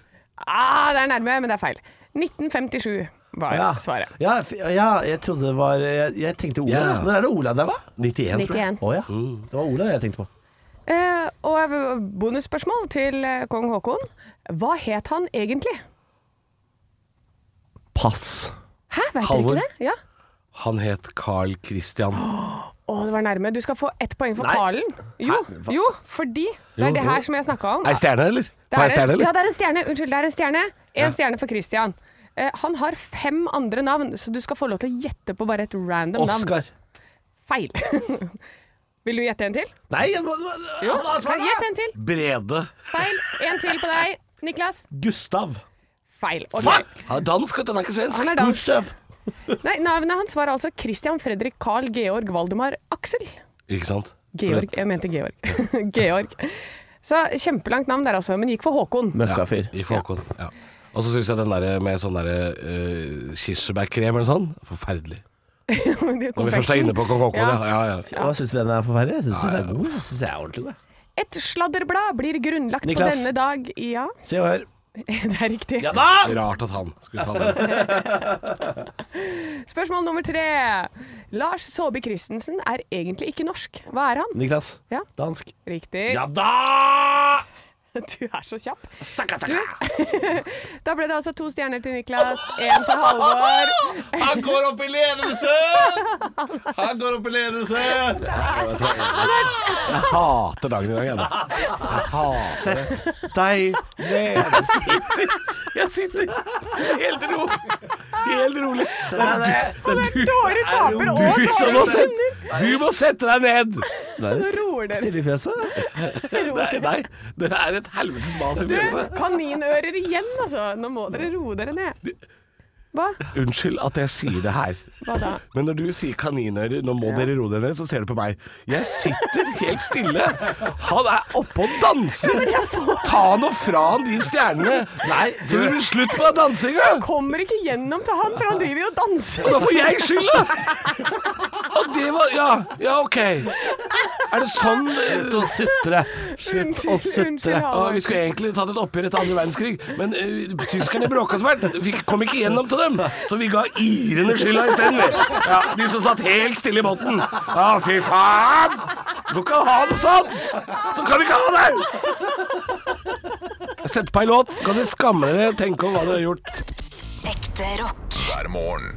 [SPEAKER 4] Ah, det er nærme, men det er feil. 1957 var
[SPEAKER 3] Ja.
[SPEAKER 4] svaret.
[SPEAKER 3] Ja, f- ja, jeg trodde det var Jeg, jeg tenkte Olav.
[SPEAKER 9] Ja.
[SPEAKER 3] Når er det Olav der, hva?
[SPEAKER 9] 91, tror jeg. Mm.
[SPEAKER 4] 91.
[SPEAKER 3] Å ja. Det var Olav jeg tenkte på.
[SPEAKER 4] Eh, og bonusspørsmål til eh, kong Haakon. Hva het han egentlig?
[SPEAKER 3] Pass.
[SPEAKER 4] Hæ, vet
[SPEAKER 5] Halvor.
[SPEAKER 4] dere ikke det? Ja.
[SPEAKER 5] Han het Carl Christian.
[SPEAKER 4] Å, det var nærme. Du skal få ett poeng for
[SPEAKER 3] Nei.
[SPEAKER 4] Karlen. Jo,
[SPEAKER 3] hva?
[SPEAKER 4] jo, fordi det
[SPEAKER 5] Jo,
[SPEAKER 4] er det
[SPEAKER 5] jo.
[SPEAKER 4] her som jeg snakka om.
[SPEAKER 5] Ei stjerne, eller? Det er,
[SPEAKER 4] en-
[SPEAKER 5] stjerne,
[SPEAKER 4] ja,
[SPEAKER 5] eller?
[SPEAKER 4] det er en stjerne. Unnskyld, det er en stjerne. En stjerne for Christian. Eh, han har fem andre navn, så du skal få lov til å gjette på bare et random navn.
[SPEAKER 3] Oskar.
[SPEAKER 4] Feil. Vil du gjette en til?
[SPEAKER 3] Nei, jeg må, må,
[SPEAKER 4] Jo,
[SPEAKER 3] hva er svaret?
[SPEAKER 4] gjett en til.
[SPEAKER 9] Brede.
[SPEAKER 4] Feil. En til på deg, Niklas.
[SPEAKER 3] Gustav.
[SPEAKER 4] Feil. Ok.
[SPEAKER 9] Han er dansk, vet du. Han er ikke svensk.
[SPEAKER 4] Han er dansk.
[SPEAKER 3] Gustav.
[SPEAKER 4] Nei, navnet hans var altså Christian Fredrik Carl Georg Valdemar Aksel.
[SPEAKER 5] Ikke sant?
[SPEAKER 4] Georg, jeg mente Georg. Georg. Så kjempelangt navn der altså, men gikk for Håkon.
[SPEAKER 3] Møkkafyr.
[SPEAKER 5] I Falcon. Ja. Og så syns jeg den der med sånn der eh, kirsebærkrem eller sånn, forferdelig. Når vi først er inne på kong Haakon, ja. Ja, ja.
[SPEAKER 3] Hva syns du den er forferdelig? Jeg syns
[SPEAKER 5] Ja,
[SPEAKER 3] den er
[SPEAKER 5] ja.
[SPEAKER 3] god. Jeg synes jeg er ordentlig god.
[SPEAKER 4] Et sladderblad blir grunnlagt
[SPEAKER 3] Niklas.
[SPEAKER 4] på denne dag. Ja,
[SPEAKER 3] Se og hør.
[SPEAKER 4] det er riktig.
[SPEAKER 3] Ja da!
[SPEAKER 5] Rart at han skulle ta den.
[SPEAKER 4] Spørsmål nummer tre. Lars Saabye Christensen er egentlig ikke norsk. Hva er han?
[SPEAKER 3] Niklas.
[SPEAKER 4] Ja.
[SPEAKER 3] Dansk.
[SPEAKER 4] Riktig.
[SPEAKER 3] Ja da!
[SPEAKER 4] Du er så kjapp.
[SPEAKER 3] Sakataka.
[SPEAKER 4] Da ble det altså to stjerner til Niklas, én til Halvor.
[SPEAKER 5] Han går opp i ledelse! Han går opp i ledelse! Jeg hater dagen i dag, jeg. da.
[SPEAKER 9] Deg.
[SPEAKER 5] Jeg sitter, sitter helt rolig. Helt rolig.
[SPEAKER 4] Dårlig taper og
[SPEAKER 5] Du som
[SPEAKER 4] dårlig
[SPEAKER 5] må sette, du må sette deg ned!
[SPEAKER 4] roer dere.
[SPEAKER 3] Stille i fjeset.
[SPEAKER 5] Nei, nei. Det er et helvetes mas i
[SPEAKER 4] Du,
[SPEAKER 5] fjeset.
[SPEAKER 4] kaninører igjen, altså. Nå må dere roe dere ned. Hva?
[SPEAKER 5] Unnskyld at jeg sier det her.
[SPEAKER 4] Hva da?
[SPEAKER 5] Men når du sier kaninører, nå må dere roe dere ned, så ser du på meg. Jeg sitter helt stille. Han er oppe og danser! Ta nå fra han de stjernene! Nei, Så det blir slutt på dansinga!
[SPEAKER 4] Kommer ikke gjennom til han, for han driver jo og danser.
[SPEAKER 5] Da får jeg skylda! Og det var Ja, ja ok. Er det sånn
[SPEAKER 3] Slutt å sutre. Slutt å
[SPEAKER 4] Unnskyld, unnskyld,
[SPEAKER 3] sutre.
[SPEAKER 4] ja.
[SPEAKER 5] Å, vi skulle egentlig tatt et oppgjør etter andre verdenskrig, men eh, tyskerne bråka så fælt. Vi kom ikke gjennom til dem, så vi ga irene skylda isteden. vi. Ja, de som satt helt stille i båten. Ja, fy faen! Du kan ikke ha det sånn! Så kan vi ikke ha det! Sett på ei låt, kan du skamme dere tenke over hva dere har gjort.
[SPEAKER 6] Ekte rock.
[SPEAKER 2] hver morgen.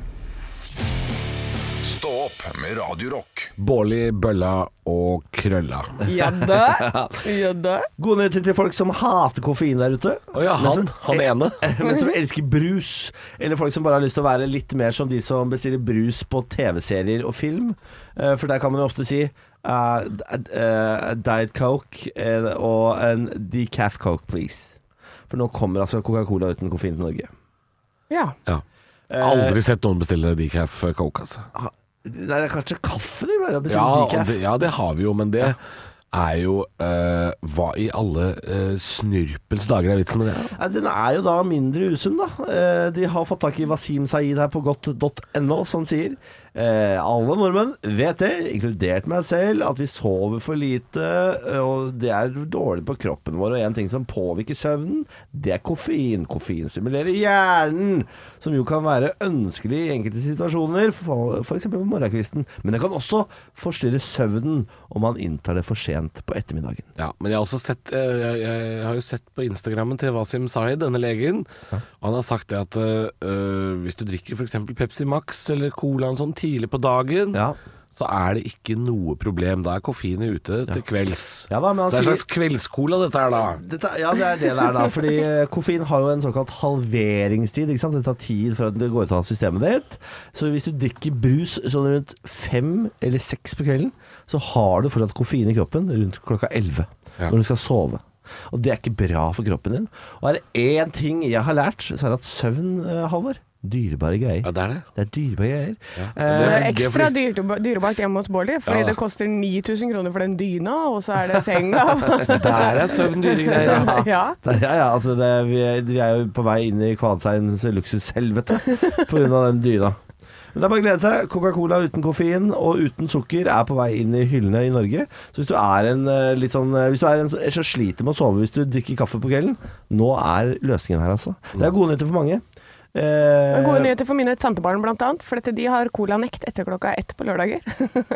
[SPEAKER 2] Stå opp med Radio Rock.
[SPEAKER 5] Bårli, Bølla og Krølla.
[SPEAKER 4] Ja da. Ja da.
[SPEAKER 3] Gode nyheter til folk som hater koffein der ute. eh,
[SPEAKER 5] Å ja, han, han ene.
[SPEAKER 3] Men som elsker brus. Eller folk som bare har lyst til å være litt mer som de som bestiller brus på TV-serier og film. Eh, For der kan man jo ofte si eh, d- eh, Diet Coke eh, og en decaf Coke, please. For nå kommer altså Coca-Cola uten koffein til Norge.
[SPEAKER 4] Ja.
[SPEAKER 5] Ja.
[SPEAKER 3] Eh,
[SPEAKER 5] Aldri sett noen bestille decaf coke, altså.
[SPEAKER 3] Ah, Nei, det er kanskje kaffe de pleier å bestille
[SPEAKER 5] Ja, og
[SPEAKER 3] Altså, decaf.
[SPEAKER 5] det, ja, det har vi jo, men det er jo eh, Hva i alle eh, snurpels dager er vitsen med det?
[SPEAKER 3] Nei, Den er jo da mindre usunn, da. Eh, De har fått tak i Wasim Saeed her på godt.no, som sier eh, alle nordmenn vet det, inkludert meg selv, at vi sover for lite, eh, og det er dårlig på kroppen vår. Og en ting som påvirker søvnen, det er koffein. Koffein stimulerer hjernen, som jo kan være ønskelig i enkelte situasjoner, f.eks. på morgenkvisten. Men det kan også forstyrre søvnen om man inntar det for sent på ettermiddagen.
[SPEAKER 5] Ja, men jeg har også sett eh, jeg, jeg har jo sett på Instagrammen til Wasim Zaid, denne legen, og han har sagt det at eh, hvis du drikker f.eks. Pepsi Max eller Cola og sånn tidlig på dagen,
[SPEAKER 3] Ja.
[SPEAKER 5] så er det ikke noe problem. Da er koffeinet ute til kvelds.
[SPEAKER 3] Ja da, men han
[SPEAKER 5] så det er en
[SPEAKER 3] sier-
[SPEAKER 5] slags kveldscola dette her, da.
[SPEAKER 3] Dette, ja, det er det det er da. Fordi eh, koffein har jo en såkalt halveringstid. Ikke sant? Det tar tid for at det går ut av systemet ditt. Så hvis du drikker brus sånn rundt fem eller seks på kvelden, så har du fortsatt koffein i kroppen rundt klokka elleve
[SPEAKER 5] Ja.
[SPEAKER 3] når du skal sove. Og det er ikke bra for kroppen din. Og er det én ting jeg har lært, så er det at søvn, eh, Halvor Dyrebare greier.
[SPEAKER 5] Ja, det er det.
[SPEAKER 3] Det er dyrebare greier. Eh,
[SPEAKER 5] Det
[SPEAKER 4] Det
[SPEAKER 5] er
[SPEAKER 4] er
[SPEAKER 5] fordi-
[SPEAKER 4] Eh, ekstra dyrt, dyrebart hjemme hos Bårli, fordi
[SPEAKER 5] Ja.
[SPEAKER 4] det koster 9000 kroner for den dyna, og så er det senga.
[SPEAKER 5] Der er søvn dyre greier. ja.
[SPEAKER 4] Ja.
[SPEAKER 3] Det- Ja, ja, altså det, vi, er, vi er jo på vei inn i Kvadseims luksushelvete pga. den dyra. Men det er bare å glede seg. Coca-Cola uten koffein og uten sukker er på vei inn i hyllene i Norge. Så hvis du er en eh, litt sånn eh, Hvis du er en som sliter med å sove hvis du drikker kaffe på kvelden, nå er løsningen her, altså. Det er gode nyheter for mange. Eh,
[SPEAKER 4] Gode nyheter for mine tantebarn blant annet, for dette, de har colanekt etter klokka ett på lørdager.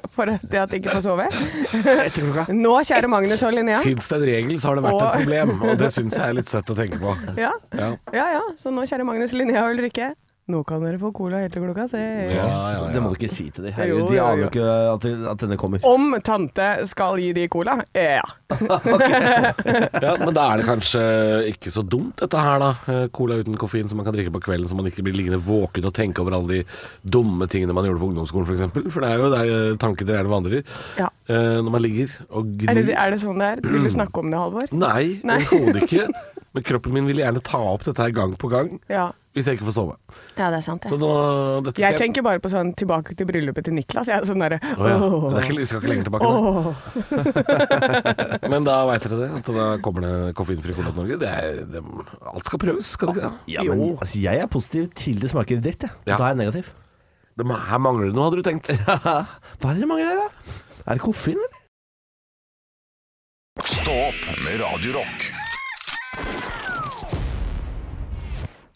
[SPEAKER 4] For det at de ikke får sove.
[SPEAKER 3] etter klokka.
[SPEAKER 4] Nå, kjære Magnus og Linnea.
[SPEAKER 5] Fins det en regel, så har det
[SPEAKER 4] Og-
[SPEAKER 5] vært et problem. Og det syns jeg er litt søtt å tenke på.
[SPEAKER 4] Ja.
[SPEAKER 5] Ja.
[SPEAKER 4] ja, ja. Så nå, kjære Magnus, Linnea og Ulrikke. Nå kan dere få cola helt til klokka seks.
[SPEAKER 3] Det må du ikke si til dem. Herregud,
[SPEAKER 4] Jo,
[SPEAKER 3] de
[SPEAKER 4] jo,
[SPEAKER 3] aner
[SPEAKER 4] jo.
[SPEAKER 3] jo ikke at, at denne kommer.
[SPEAKER 4] Om tante skal gi de cola? Ja.
[SPEAKER 5] Ja, men da er det kanskje ikke så dumt dette her, da. Eh, Cola uten koffein som man kan drikke på kvelden, så man ikke blir liggende våken og tenke over alle de dumme tingene man gjorde på ungdomsskolen f.eks. For, eksempel. for det er jo der eh, tankene gjerne vandrer
[SPEAKER 4] Ja.
[SPEAKER 5] eh, når man ligger og
[SPEAKER 4] Er
[SPEAKER 5] gnir.
[SPEAKER 4] det, er det sånn det er? Vil du snakke om det, Halvor?
[SPEAKER 5] Nei,
[SPEAKER 4] Nei.
[SPEAKER 5] overhodet ikke. Men kroppen min vil gjerne ta opp dette her gang på gang
[SPEAKER 4] Ja.
[SPEAKER 5] hvis jeg ikke får sove.
[SPEAKER 4] ja, det er sant.
[SPEAKER 5] Så
[SPEAKER 4] det.
[SPEAKER 5] nå, dette skal
[SPEAKER 4] Jeg tenker bare på sånn tilbake til bryllupet til Niklas. Jeg er sånn derre
[SPEAKER 5] Å ja. Men det er ikke, vi skal ikke lenger tilbake. nå.
[SPEAKER 4] Åh.
[SPEAKER 5] Men da veit dere det. At da kommer det koffeinfri cola til Norge. Det er, det, alt skal prøves, skal det ikke det?
[SPEAKER 3] Ja, men altså, jeg er positiv til det smaker dritt, jeg.
[SPEAKER 5] Ja.
[SPEAKER 3] Da er jeg negativ.
[SPEAKER 5] Det ma- Her mangler det noe, hadde du tenkt.
[SPEAKER 3] Hva er det det mangler her, da? Er det koffein, eller?
[SPEAKER 2] Stå opp med Radio Rock.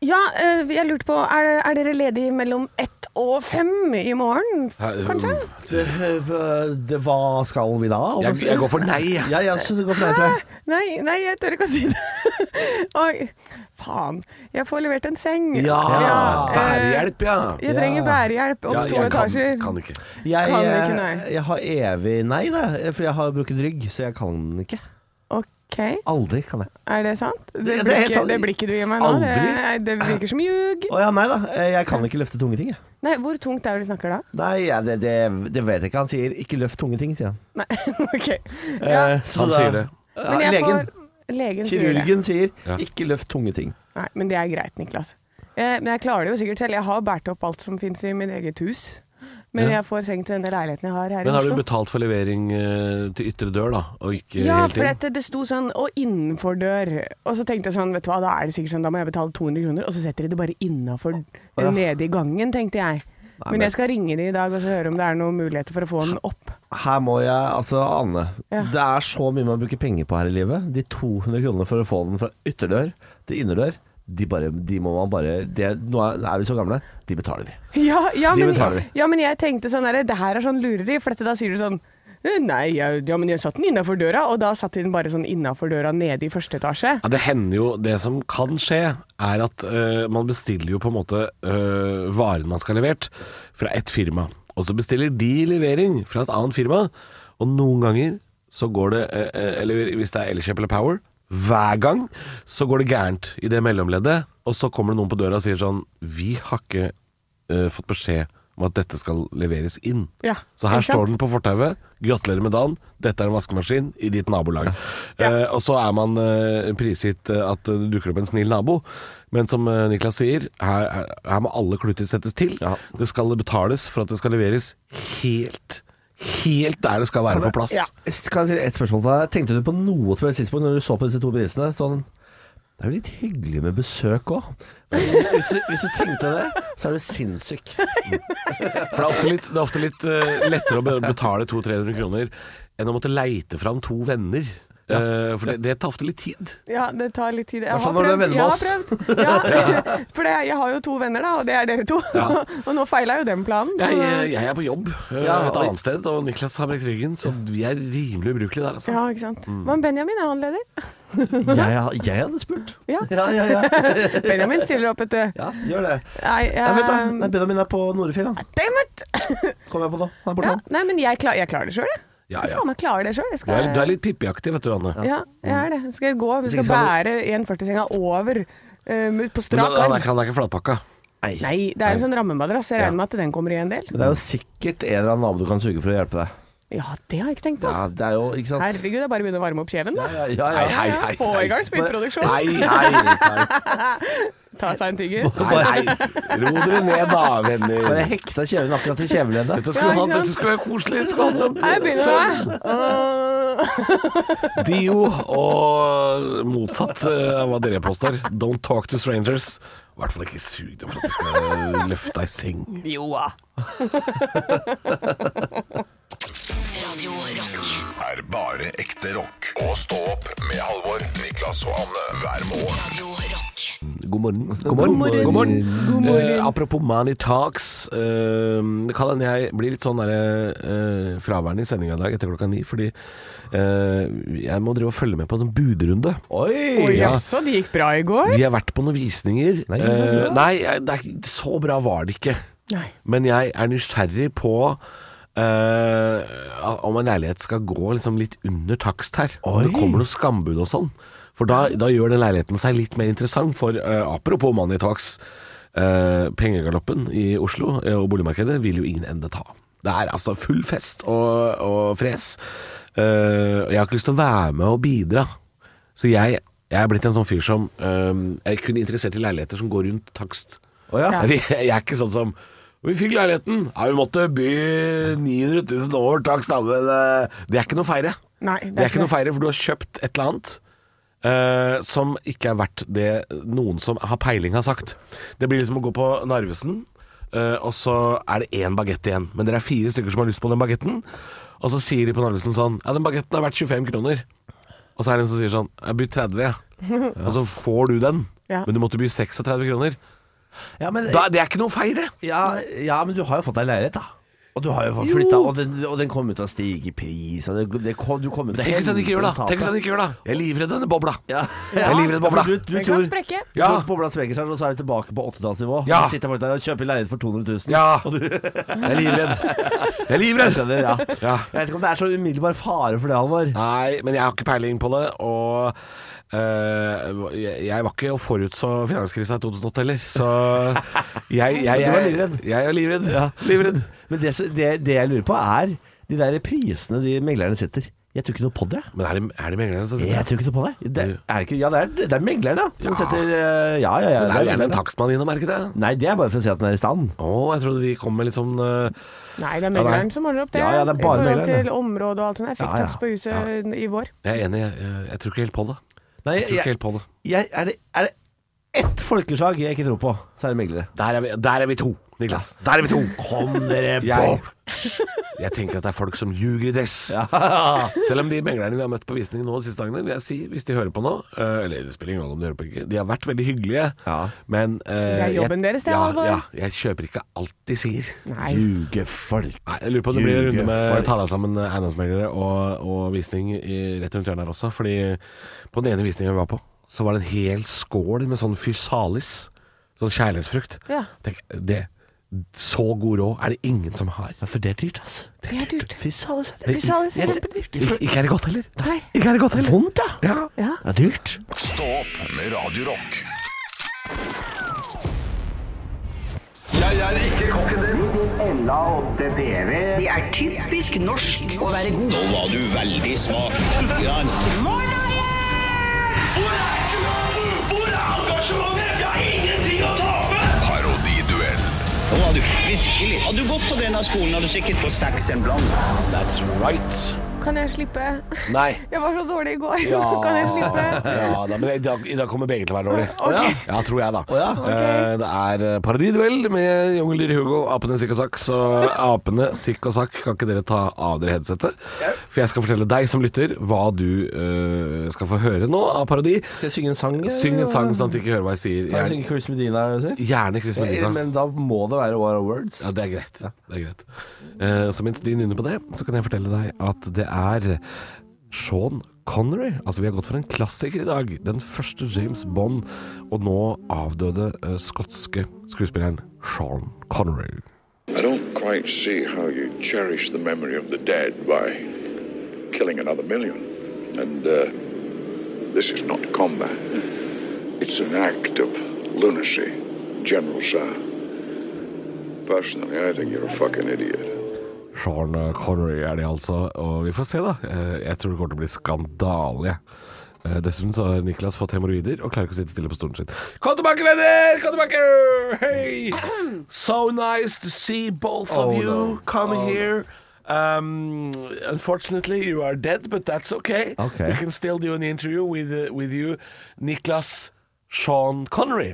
[SPEAKER 4] Ja, eh, jeg lurte på, er, er dere ledige mellom ett og fem i morgen?
[SPEAKER 5] Her,
[SPEAKER 4] Kanskje?
[SPEAKER 5] um,
[SPEAKER 3] Det, det, Eh, hva skal vi da?
[SPEAKER 5] Jeg, jeg går for nei. jeg.
[SPEAKER 3] Ja, jeg synes det går for deg, tror jeg.
[SPEAKER 4] Nei, nei, jeg tør ikke å si det. Oi, faen. Jeg får levert en seng.
[SPEAKER 5] Ja!
[SPEAKER 4] eh,
[SPEAKER 5] Bærehjelp, ja.
[SPEAKER 4] Jeg trenger
[SPEAKER 3] Ja.
[SPEAKER 4] bærehjelp om
[SPEAKER 5] Ja,
[SPEAKER 4] to
[SPEAKER 5] jeg kan,
[SPEAKER 4] etasjer.
[SPEAKER 5] kan ikke.
[SPEAKER 3] Jeg,
[SPEAKER 4] Kan ikke
[SPEAKER 3] eh,
[SPEAKER 4] nei.
[SPEAKER 3] jeg har evig nei, da. For jeg har brukket rygg, så jeg kan ikke.
[SPEAKER 4] Ok,
[SPEAKER 3] Aldri kan jeg.
[SPEAKER 4] er det sant? Det
[SPEAKER 3] Det- det er helt
[SPEAKER 4] blikket,
[SPEAKER 3] sant.
[SPEAKER 4] det blikket du gir meg nå, det,
[SPEAKER 5] Aldri.
[SPEAKER 4] nei, det virker som ljug.
[SPEAKER 3] Å ja, nei da. Eh, Jeg kan ikke løfte tunge ting, jeg.
[SPEAKER 4] Nei, hvor tungt er det du snakker da?
[SPEAKER 3] Nei, ja, det, det, det vet jeg ikke. Han sier 'ikke løft tunge ting', sier han.
[SPEAKER 4] Nei, ok. Ja,
[SPEAKER 3] Eh, så
[SPEAKER 5] Han
[SPEAKER 3] da-
[SPEAKER 5] sier det.
[SPEAKER 3] Ja,
[SPEAKER 4] men jeg
[SPEAKER 3] legen.
[SPEAKER 4] får... Legen sier det.
[SPEAKER 3] Kirurgen sier
[SPEAKER 5] Ja.
[SPEAKER 3] 'ikke løft tunge ting'.
[SPEAKER 4] Nei, men det er greit, Niklas. Eh, men jeg klarer det jo sikkert selv. Jeg har båret opp alt som finnes i mitt eget hus. Men
[SPEAKER 5] Ja.
[SPEAKER 4] jeg får seng til denne leiligheten jeg har her
[SPEAKER 5] Men
[SPEAKER 4] i
[SPEAKER 5] har du
[SPEAKER 4] Oslo.
[SPEAKER 5] betalt for levering eh, til ytre dør, da? Og ikke
[SPEAKER 4] Ja,
[SPEAKER 5] helt
[SPEAKER 4] for
[SPEAKER 5] inn?
[SPEAKER 4] det, det sto sånn 'og innenfor dør'. Og så tenkte jeg sånn, vet du hva, da er det sikkert sånn, da må jeg betale 200 kroner. Og så setter de det bare innafor,
[SPEAKER 3] ja.
[SPEAKER 4] nede i gangen, tenkte jeg.
[SPEAKER 3] men-
[SPEAKER 4] Men jeg skal ringe de i dag og så høre om det er noen muligheter for å få den opp.
[SPEAKER 3] Her må jeg Altså, Anne.
[SPEAKER 4] Ja.
[SPEAKER 3] Det er så mye man bruker penger på her i livet. De 200 kronene for å få den fra ytterdør til innerdør, de, bare, de må man bare det, Nå er er vi så gamle, de betaler vi.
[SPEAKER 4] Ja, ja,
[SPEAKER 3] De
[SPEAKER 4] men,
[SPEAKER 3] betaler vi.
[SPEAKER 4] ja, men jeg tenkte sånn der, det her er sånn lureri, for dette, da sier du sånn Nei, jeg, ja, men jeg satt den innafor døra, og da satt de den bare sånn innafor døra nede i første etasje.
[SPEAKER 5] Ja, det hender jo Det som kan skje, er at eh, man bestiller jo på en måte eh, varen man skal ha levert, fra ett firma. Og så bestiller de levering fra et annet firma. Og noen ganger så går det eh, eh, Eller hvis det er Elkjøp eller Power, hver gang så går det gærent i det mellomleddet. Og så kommer det noen på døra og sier sånn Vi har ikke eh, fått beskjed om at dette skal leveres inn.
[SPEAKER 4] Ja,
[SPEAKER 5] så her
[SPEAKER 4] ikke sant?
[SPEAKER 5] står den på fortauet. Gratulerer med dagen. Dette er en vaskemaskin i ditt nabolag. Eh, og så er man eh, prisgitt eh, at det dukker opp en snill nabo. Men som eh, Niklas sier, her, her- her må alle klutter settes til.
[SPEAKER 3] Ja.
[SPEAKER 5] Det skal betales for at det skal leveres helt, helt der det skal være på plass.
[SPEAKER 3] Kan jeg si et spørsmål til deg? Tenkte du på noe til et tidspunkt når du så på disse to prisene? Sånn Det er jo litt hyggelig med besøk òg. Hvis, du- hvis du tenkte det, så er du sinnssyk.
[SPEAKER 5] For det er ofte litt, det er ofte litt eh, lettere å be- betale 200-300 kroner enn å måtte leite fram to venner. Eh, for det, det tar ofte litt tid.
[SPEAKER 4] Ja, det tar litt tid. Jeg
[SPEAKER 3] Hvertfall når
[SPEAKER 4] har
[SPEAKER 3] du er
[SPEAKER 4] prøvd.
[SPEAKER 3] venn
[SPEAKER 4] Jeg har
[SPEAKER 3] med
[SPEAKER 4] prøvd. Ja, for det, jeg har jo to venner, da, og det er dere to. og nå feila jo den planen.
[SPEAKER 5] Jeg,
[SPEAKER 4] Så,
[SPEAKER 5] jeg er på jobb eh,
[SPEAKER 3] Ja,
[SPEAKER 5] et annet sted, og Niklas har brekt ryggen, så vi er rimelig ubrukelige der, altså.
[SPEAKER 4] ja, ikke sant. Men Benjamin er han leder.
[SPEAKER 3] Jeg, jeg hadde spurt.
[SPEAKER 4] Ja.
[SPEAKER 3] ja, ja. ja.
[SPEAKER 4] Benjamin stiller opp, vet du.
[SPEAKER 3] ja gjør det. Um,
[SPEAKER 4] Nei,
[SPEAKER 3] Nei, vent, da.
[SPEAKER 4] ehm,
[SPEAKER 3] Nei, Benjamin er på Norefjell, han.
[SPEAKER 4] damn it!
[SPEAKER 3] Kommer jeg på nå? Han er borte,
[SPEAKER 4] Ja,
[SPEAKER 3] han.
[SPEAKER 4] nei, men jeg, klar, jeg klarer det sjøl, jeg.
[SPEAKER 5] Ja,
[SPEAKER 4] Skal
[SPEAKER 5] ja.
[SPEAKER 4] faen meg klare det sjøl. Jeg
[SPEAKER 5] Du er,
[SPEAKER 4] skal
[SPEAKER 5] du er litt pippiaktig, vet du, Anne.
[SPEAKER 4] Eh. Ja, jeg er det. Skal jeg gå? Vi
[SPEAKER 3] ikke
[SPEAKER 4] skal
[SPEAKER 3] skal
[SPEAKER 4] bære 140-senga over eh, på
[SPEAKER 5] Men
[SPEAKER 4] strak
[SPEAKER 5] han- han er,
[SPEAKER 4] arm.
[SPEAKER 5] ikke- han er ikke flatpakka.
[SPEAKER 4] Nei, det er en sånn rammemadrass. Jeg regner med at den kommer i en del.
[SPEAKER 3] Men det er jo sikkert en eller annen nabo du kan suge for å hjelpe deg.
[SPEAKER 4] Ja, det har jeg ikke tenkt på.
[SPEAKER 3] Ja, det er jo, ikke sant?
[SPEAKER 4] Herregud, det er bare å begynne å varme opp kjeven, da.
[SPEAKER 3] Ja, ja, ja.
[SPEAKER 5] Hei,
[SPEAKER 4] Ja,
[SPEAKER 5] hei,
[SPEAKER 4] Få
[SPEAKER 5] hei.
[SPEAKER 4] i gang spydproduksjon.
[SPEAKER 5] Nei, nei, nei,
[SPEAKER 4] Ta seg en tyggis.
[SPEAKER 5] nei, nei. Ro dere ned da,
[SPEAKER 3] Bare
[SPEAKER 5] venner.
[SPEAKER 3] hekta kjeven akkurat til kjeveleddet.
[SPEAKER 5] Dette skulle,
[SPEAKER 4] Ja, ikke
[SPEAKER 5] ha,
[SPEAKER 4] sant?
[SPEAKER 5] dette skulle være koselig. Det skulle handle om
[SPEAKER 4] Her begynner
[SPEAKER 5] Sånn,
[SPEAKER 4] det. Øh,
[SPEAKER 5] Dio og motsatt eh, av hva dere påstår. Don't talk to strangers. I hvert fall ikke sug deg for at jeg skal løfte deg i seng.
[SPEAKER 4] Jo da.
[SPEAKER 6] Radio Rock.
[SPEAKER 2] er bare ekte rock. Og stå opp med Halvor, Niklas og Anne hver morgen.
[SPEAKER 6] Radio Rock.
[SPEAKER 5] God morgen. God morgen.
[SPEAKER 4] morgen. God morgen.
[SPEAKER 5] Eh, apropos Money Talks. eh, det kan hende jeg blir litt sånn derre, eh, fraværende i sendinga i dag etter klokka ni, fordi eh, jeg må drive og følge med på en sånn budrunde.
[SPEAKER 3] Oi!
[SPEAKER 4] Oi,
[SPEAKER 5] Ja.
[SPEAKER 4] jaså, det gikk bra i går?
[SPEAKER 5] Vi har vært på noen visninger.
[SPEAKER 3] Nei,
[SPEAKER 5] Nei,
[SPEAKER 3] men
[SPEAKER 5] nei jeg, det er, ikke- så bra var det ikke.
[SPEAKER 4] Nei.
[SPEAKER 5] Men jeg er nysgjerrig på eh, om en leilighet skal gå liksom litt under takst her. Om det
[SPEAKER 3] Oi.
[SPEAKER 5] kommer noe skambud og sånn. For da, da gjør den leiligheten seg litt mer interessant. For eh, apropos Money Talks, eh, pengegaloppen i Oslo eh, og boligmarkedet vil jo ingen ende ta. Det er altså full fest og, og fres. Eh, og jeg har ikke lyst til å være med og bidra. Så jeg, jeg er blitt en sånn fyr som eh, er kun interessert i leiligheter som går rundt takst.
[SPEAKER 3] Å ja.
[SPEAKER 5] Jeg, jeg er ikke sånn som vi fikk leiligheten. Ja, vi måtte by 900 000 over takst, da, men eh, det er ikke noe å feire.
[SPEAKER 4] Nei, det er
[SPEAKER 5] det er
[SPEAKER 4] ikke
[SPEAKER 5] ikke noe å
[SPEAKER 4] det.
[SPEAKER 5] feire, for du har kjøpt et eller annet eh, som ikke er verdt det noen som har peiling, har sagt. Det blir liksom å gå på Narvesen, eh, og så er det én bagett igjen. Men dere er fire stykker som har lyst på den bagetten, og så sier de på Narvesen sånn Ja, den bagetten er verdt 25 kroner. Og så er det en som sier sånn Jeg byr 30, jeg. Og så får du den,
[SPEAKER 4] Ja.
[SPEAKER 5] men du måtte by 36 kroner.
[SPEAKER 3] Ja, men,
[SPEAKER 5] Da, det er ikke noe å feire.
[SPEAKER 3] ja, ja, men du har jo fått deg leilighet, da. Og du har jo fått flytta, og, den- og den kommer til å stige i pris. Og det, det, kom- du kommer til
[SPEAKER 5] Tenk hvis den ikke gjør det! da. Tenk hvis den ikke gjør det! Jeg er livredd denne bobla.
[SPEAKER 3] Ja.
[SPEAKER 5] Jeg er livredd bobla.
[SPEAKER 3] Ja, for Du
[SPEAKER 4] Den kan
[SPEAKER 3] tror-
[SPEAKER 4] sprekke.
[SPEAKER 5] Ja.
[SPEAKER 3] Folk Bobla sprekker seg, og så er vi tilbake på 80-tallsnivå.
[SPEAKER 5] Ja.
[SPEAKER 3] Så Sitter folk der og kjøper leilighet for 200 000.
[SPEAKER 5] Ja.
[SPEAKER 3] Og du, jeg
[SPEAKER 5] Jeg er livredd. Jeg er livredd.
[SPEAKER 3] skjønner, ja.
[SPEAKER 5] Ja.
[SPEAKER 3] Jeg vet ikke om det er så umiddelbar fare for det, Halvor.
[SPEAKER 5] Nei, men jeg har ikke peiling på det, og eh, jeg jeg var ikke og forutså finanskrisa i 2008 heller, så
[SPEAKER 3] Men
[SPEAKER 5] jeg, jeg,
[SPEAKER 3] du var
[SPEAKER 5] jeg,
[SPEAKER 3] livredd.
[SPEAKER 5] jeg er livredd. Livredd.
[SPEAKER 3] Men det, som- det, det jeg lurer på, er de der prisene de meglerne setter. Jeg tror ikke noe på det.
[SPEAKER 5] Men er det, er det meglerne som sitter
[SPEAKER 3] Jeg
[SPEAKER 5] der?
[SPEAKER 3] tror ikke noe på det. det, er det ikke, ja, det er, det er meglerne som
[SPEAKER 5] Ja.
[SPEAKER 3] setter eh, Ja, ja, ja.
[SPEAKER 5] Det er jo gjerne
[SPEAKER 3] meglerne.
[SPEAKER 5] en takstmann innom, er det ikke det?
[SPEAKER 3] Nei, det er bare for å se at den er i stand.
[SPEAKER 5] Å, jeg trodde de kom med litt sånn eh,
[SPEAKER 4] Nei, det er
[SPEAKER 5] nei.
[SPEAKER 4] megleren som ordner opp det.
[SPEAKER 3] Ja, ja, det er bare
[SPEAKER 4] I forhold
[SPEAKER 3] megleren,
[SPEAKER 4] til området og alt sånt. Jeg
[SPEAKER 3] Ja,
[SPEAKER 4] fikk
[SPEAKER 3] ja.
[SPEAKER 4] takst på huset i vår.
[SPEAKER 5] Jeg er enig, jeg, jeg, jeg tror ikke helt på det.
[SPEAKER 3] Nei,
[SPEAKER 5] Jeg tror ikke
[SPEAKER 3] jeg,
[SPEAKER 5] helt på det.
[SPEAKER 3] jeg, er, det, er det ett folkeslag jeg ikke tror på, så er det meglere.
[SPEAKER 5] Der er vi, der er vi to, Niklas. Der er vi to!
[SPEAKER 3] Kom dere
[SPEAKER 5] Jeg,
[SPEAKER 3] bort!
[SPEAKER 5] jeg tenker at det er folk som ljuger i dress.
[SPEAKER 3] Ja.
[SPEAKER 5] Selv om de meglerne vi har møtt på visning nå de siste dagene, vil jeg si, hvis de hører på nå eh, Eller det spiller ingen rolle om de hører på ikke, de har vært veldig hyggelige,
[SPEAKER 3] Ja.
[SPEAKER 5] men eh,
[SPEAKER 4] Det er jobben
[SPEAKER 5] jeg-
[SPEAKER 4] deres, det,
[SPEAKER 5] ja,
[SPEAKER 4] Halvor.
[SPEAKER 5] ja, jeg kjøper ikke alt de sier.
[SPEAKER 4] Nei.
[SPEAKER 3] Ljugefolk.
[SPEAKER 5] Nei, jeg lurer på om det blir en runde med
[SPEAKER 3] Ljugefolk.
[SPEAKER 5] ta deg sammen eh, eiendomsmeglere og, og visning i, rett rundt hjørnet her også, fordi på den ene visningen vi var på, så var det en hel skål med sånn fysalis, sånn kjærlighetsfrukt.
[SPEAKER 4] Ja.
[SPEAKER 5] Tenk, det, så god råd er det ingen som har.
[SPEAKER 3] Ja, for det er dyrt, ass.
[SPEAKER 4] Det er dyrt.
[SPEAKER 3] Fy søren.
[SPEAKER 4] Fy søren, det er kjempedyrt.
[SPEAKER 5] Ikke, ikke er det godt heller.
[SPEAKER 4] Nei.
[SPEAKER 5] Ikke er det godt heller.
[SPEAKER 3] Vondt, da.
[SPEAKER 5] Ja.
[SPEAKER 4] Ja.
[SPEAKER 3] Det er dyrt.
[SPEAKER 2] Stå opp med Radio Rock.
[SPEAKER 7] Jeg er ikke kokken din.
[SPEAKER 10] Det er typisk norsk å være god.
[SPEAKER 2] Nå var du veldig smak.
[SPEAKER 7] Hvor er engasjementet? Hvor er engasjementet? Jeg har ingenting å tape!
[SPEAKER 2] Parodiduell.
[SPEAKER 11] Nå har du virkelig Har du gått på denne skolen, har du sikkert fått seks en blant.
[SPEAKER 5] That's right.
[SPEAKER 4] Kan jeg slippe?
[SPEAKER 5] Nei.
[SPEAKER 4] Jeg var så dårlig i går. Kan jeg slippe?
[SPEAKER 5] Ja, da, men i dag, i dag kommer begge til å være dårlige. Ja, tror jeg, da. Eh, det er eh, parodiduell med Jungeldyr Hugo, Apene Sikk og Sakk. Så Apene Sikk og Sakk, kan ikke dere ta av dere headsetet? For jeg skal fortelle deg som lytter hva du eh, skal få høre nå av parodi.
[SPEAKER 3] Skal jeg synge en sang?
[SPEAKER 5] Syng en sang sånn at de ikke hører hva jeg sier.
[SPEAKER 3] Kan jeg
[SPEAKER 5] Gjerne,
[SPEAKER 3] synge Eh, Chris Medina? er det du sier?
[SPEAKER 5] gjerne Chris
[SPEAKER 3] Ja,
[SPEAKER 5] Melina.
[SPEAKER 3] Men da må det være War of Words.
[SPEAKER 5] Ja, det er greit. Det er greit. Eh, så mens de nynner på det, så kan jeg fortelle deg at det er Sean Connery. Altså, vi har gått for en klassiker i dag. Den første James Bond, og nå avdøde eh, skotske skuespilleren Sean Connery.
[SPEAKER 12] I don't quite see how you cherish the memory of the dead by killing another million. And uh, this is not combat. It's an act of lunacy, General Sir. Personally, I think you're a fucking idiot.
[SPEAKER 5] Sean Connery er det altså, og vi får se, da. Eh, Jeg tror det kommer til å bli skandale. jeg. Eh, Dessuten så har Niklas fått hemoroider og klarer ikke å sitte stille på stolen sin. Kom tilbake, venner! Kom tilbake! Hey! So nice to see both of you come here. Um, unfortunately, you are dead, but that's okay.
[SPEAKER 3] Okay.
[SPEAKER 5] We can still do an interview with, uh, with you, Niklas Sean Connery.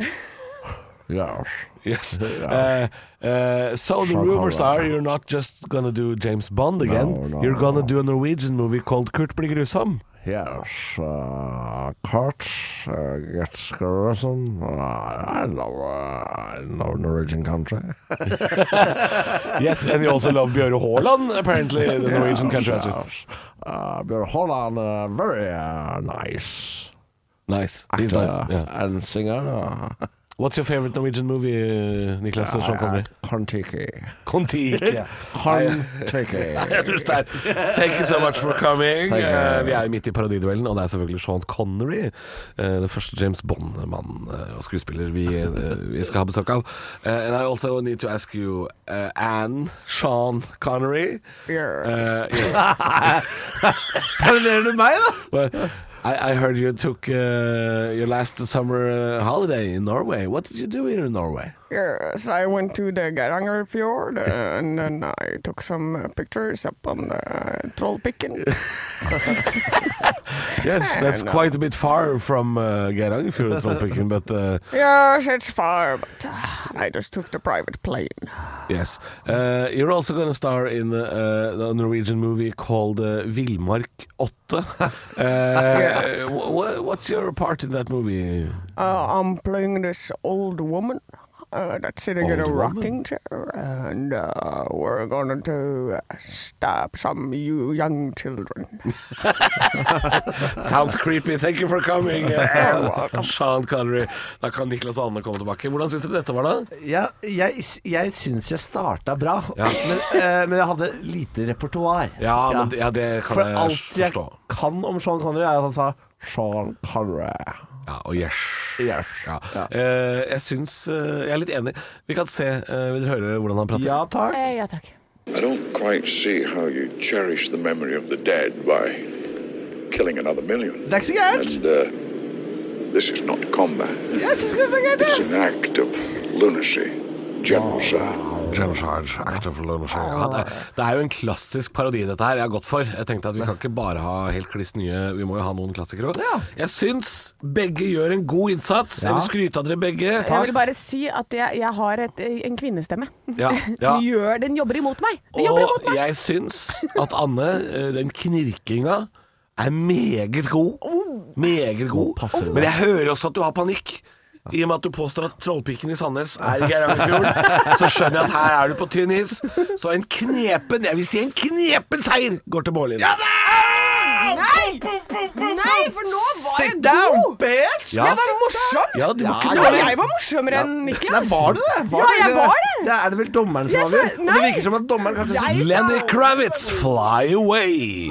[SPEAKER 3] Yes.
[SPEAKER 5] Yes. Uh, uh, so the rumors are you're not just gonna do James Bond again.
[SPEAKER 3] no,
[SPEAKER 5] you're gonna do a Norwegian movie called Kurt blir grusom.
[SPEAKER 3] Yes, uh, Kurt uh, gets gruesome. Uh, I love, uh, I love Norwegian country.
[SPEAKER 5] Yes, and you also love Bjøre Haaland, apparently, the Norwegian country
[SPEAKER 3] Yes,
[SPEAKER 5] artist.
[SPEAKER 3] yes. Uh, Bjørn Holland, uh, very uh, nice
[SPEAKER 5] Nice. He's
[SPEAKER 3] actor
[SPEAKER 5] nice. Yeah.
[SPEAKER 3] and singer. Uh,
[SPEAKER 5] What's your favorite Norwegian movie, uh, Niklas? Sean Connery?
[SPEAKER 3] Kon-Tiki.
[SPEAKER 5] Kon-Tiki. yeah.
[SPEAKER 3] Kon-Tiki.
[SPEAKER 5] Jeg understand. Thank you so much for coming.
[SPEAKER 3] Thank you.
[SPEAKER 5] Eh, vi er jo midt i parodiduellen, og det er selvfølgelig Sean Connery. eh, den første James Bond-mannen eh, og skuespiller vi, eh, vi skal ha besøk av. Eh, and I also need to ask you, eh, Anne Sean Connery eh, yes.
[SPEAKER 3] Parodiderer du meg, da?
[SPEAKER 5] Well, I, I heard you took uh, your last summer uh, holiday in Norway. What did you do in Norway?
[SPEAKER 4] Yes, I went to the Geiranger Fjord uh, and then I took some uh, pictures up on the uh, Trollpikken.
[SPEAKER 5] Yes, that's quite a bit far from uh, Geirangerfjord, Trollpikken, but uh,
[SPEAKER 4] Yes, it's far, but uh, I just took the private plane.
[SPEAKER 5] Yes. Uh, you're also going to star in uh, a Norwegian movie called uh, Villmark 8. Uh, wh- wh- what's your part in that movie?
[SPEAKER 4] Uh, I'm playing this old woman uh, that's sitting in a
[SPEAKER 5] Old woman?
[SPEAKER 4] rocking chair, and uh, we're going to uh, stab some you young children.
[SPEAKER 5] Sounds creepy. Thank you for coming. Uh, Sean Connery. Da kan Niklas Alme komme tilbake. Hvordan syns dere dette var, da?
[SPEAKER 3] Ja, jeg, jeg syns jeg starta bra, men, eh, men jeg hadde lite repertoar.
[SPEAKER 5] Ja, men- ja, det kan
[SPEAKER 3] For
[SPEAKER 5] jeg
[SPEAKER 3] alt jeg
[SPEAKER 5] forstå.
[SPEAKER 3] kan om Sean Connery, er at han sa Sean Connery.
[SPEAKER 5] Ja, og yes.
[SPEAKER 3] Yes.
[SPEAKER 5] Ja. Eh, jeg syns eh, Jeg er litt enig. Vi kan se eh, Vil dere høre hvordan han prater?
[SPEAKER 3] Ja takk.
[SPEAKER 4] Eh, ja takk.
[SPEAKER 12] I don't quite see how you cherish the memory of the dead by killing another million.
[SPEAKER 3] Det er ikke så gærent.
[SPEAKER 12] And uh, this is not combat.
[SPEAKER 3] Jeg syns ikke det er gærent.
[SPEAKER 12] It's
[SPEAKER 3] jeg.
[SPEAKER 12] an act of lunacy, genocide.
[SPEAKER 5] Genocide, act of lunacy. Ja,
[SPEAKER 4] Ah.
[SPEAKER 5] det, det er jo en klassisk parodi dette her jeg har gått for. Jeg tenkte at vi kan ikke bare ha helt kliss nye, vi må jo ha noen klassikere òg.
[SPEAKER 3] Ja.
[SPEAKER 5] Jeg syns begge gjør en god innsats. Jeg vil skryte av dere begge.
[SPEAKER 4] Jeg vil bare si at jeg, jeg har et, eh, en kvinnestemme
[SPEAKER 5] Ja, ja.
[SPEAKER 4] som gjør Den jobber imot meg! Den jobber imot
[SPEAKER 5] Og
[SPEAKER 4] meg!
[SPEAKER 5] jeg syns at Anne, eh, den knirkinga er meget god. Meget god.
[SPEAKER 3] passer det.
[SPEAKER 5] Men jeg hører også at du har panikk. I og med at du påstår at trollpikken i Sandnes er i Geirangerfjorden, så skjønner jeg at her er du på tynn is. Så en knepen, jeg vil si en knepen seier, går til Bålin. Ja,
[SPEAKER 4] Nei! Nei, for nå var jeg
[SPEAKER 3] Sit down, bitch!
[SPEAKER 5] Ja.
[SPEAKER 4] Jeg var morsom!
[SPEAKER 5] Ja, du må ikke
[SPEAKER 4] Ja,
[SPEAKER 5] bare-
[SPEAKER 4] jeg var morsommere enn
[SPEAKER 3] Nei,
[SPEAKER 4] Niklas.
[SPEAKER 3] var du det? Var
[SPEAKER 4] Ja,
[SPEAKER 3] du
[SPEAKER 4] jeg var det.
[SPEAKER 3] Det er det vel dommeren som
[SPEAKER 4] Jeg sa-
[SPEAKER 3] avgjør. Og det
[SPEAKER 4] nei.
[SPEAKER 3] virker som at dommeren kanskje
[SPEAKER 4] Jeg sa-
[SPEAKER 5] Lenny Kravitz, fly away.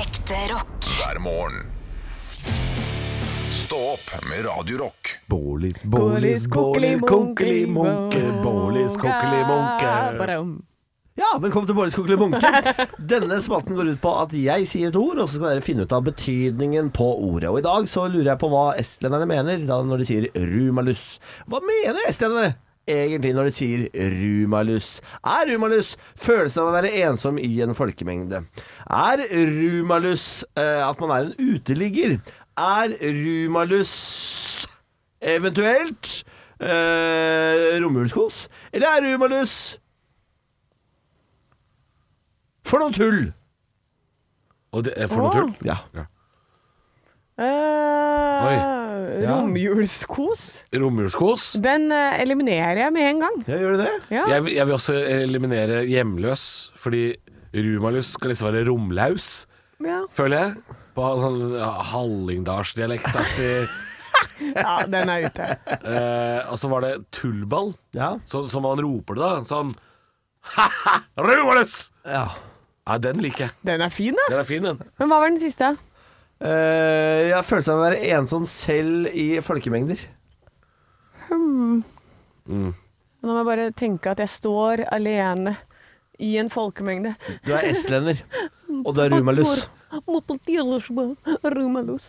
[SPEAKER 6] Ekte rock.
[SPEAKER 2] hver morgen. Stå opp med Radio Rock.
[SPEAKER 5] Bålis,
[SPEAKER 4] Bålis, kokkeli,
[SPEAKER 5] kokkeli,
[SPEAKER 4] munke,
[SPEAKER 5] Bålis, kokkeli, munke.
[SPEAKER 4] Badam.
[SPEAKER 3] Ja, velkommen til Bård Skogli Munke. Denne spalten går ut på at jeg sier et ord, og så skal dere finne ut av betydningen på ordet. Og i dag så lurer jeg på hva estlenderne mener da når de sier rumalus. Hva mener estlenderne? Egentlig når de sier rumalus. Er rumalus følelsen av å være ensom i en folkemengde? Er rumalus eh, at man er en uteligger? Er rumalus eventuelt eh, romjulskos? Eller er rumalus for noe tull.
[SPEAKER 5] Og det er for noe tull.
[SPEAKER 3] Ja.
[SPEAKER 4] Eh,
[SPEAKER 3] Ja.
[SPEAKER 4] Romjulskos.
[SPEAKER 5] Romjulskos.
[SPEAKER 4] Den eh, eliminerer jeg med en gang.
[SPEAKER 3] gjør du det?
[SPEAKER 4] Ja.
[SPEAKER 5] Jeg, vil- jeg vil også eliminere hjemløs, fordi rumalus skal liksom være romlaus,
[SPEAKER 4] Ja.
[SPEAKER 5] føler jeg. På sånn ja, hallingdalsdialektaktig.
[SPEAKER 4] ja, den er ute.
[SPEAKER 5] Eh, og så var det tullball,
[SPEAKER 3] Ja.
[SPEAKER 5] så- som man roper det da. Sånn Ha-ha, rumalus!
[SPEAKER 3] ja.
[SPEAKER 5] Ja, den liker jeg.
[SPEAKER 4] Den er fin, da.
[SPEAKER 5] Den er fin, den.
[SPEAKER 4] Men hva var den siste?
[SPEAKER 3] Eh, jeg har følelsen av å være ensom selv i folkemengder.
[SPEAKER 4] Nå må jeg bare tenke at jeg står alene i en folkemengde.
[SPEAKER 3] Du er estlender, og du er rumalus.
[SPEAKER 4] Rumalus.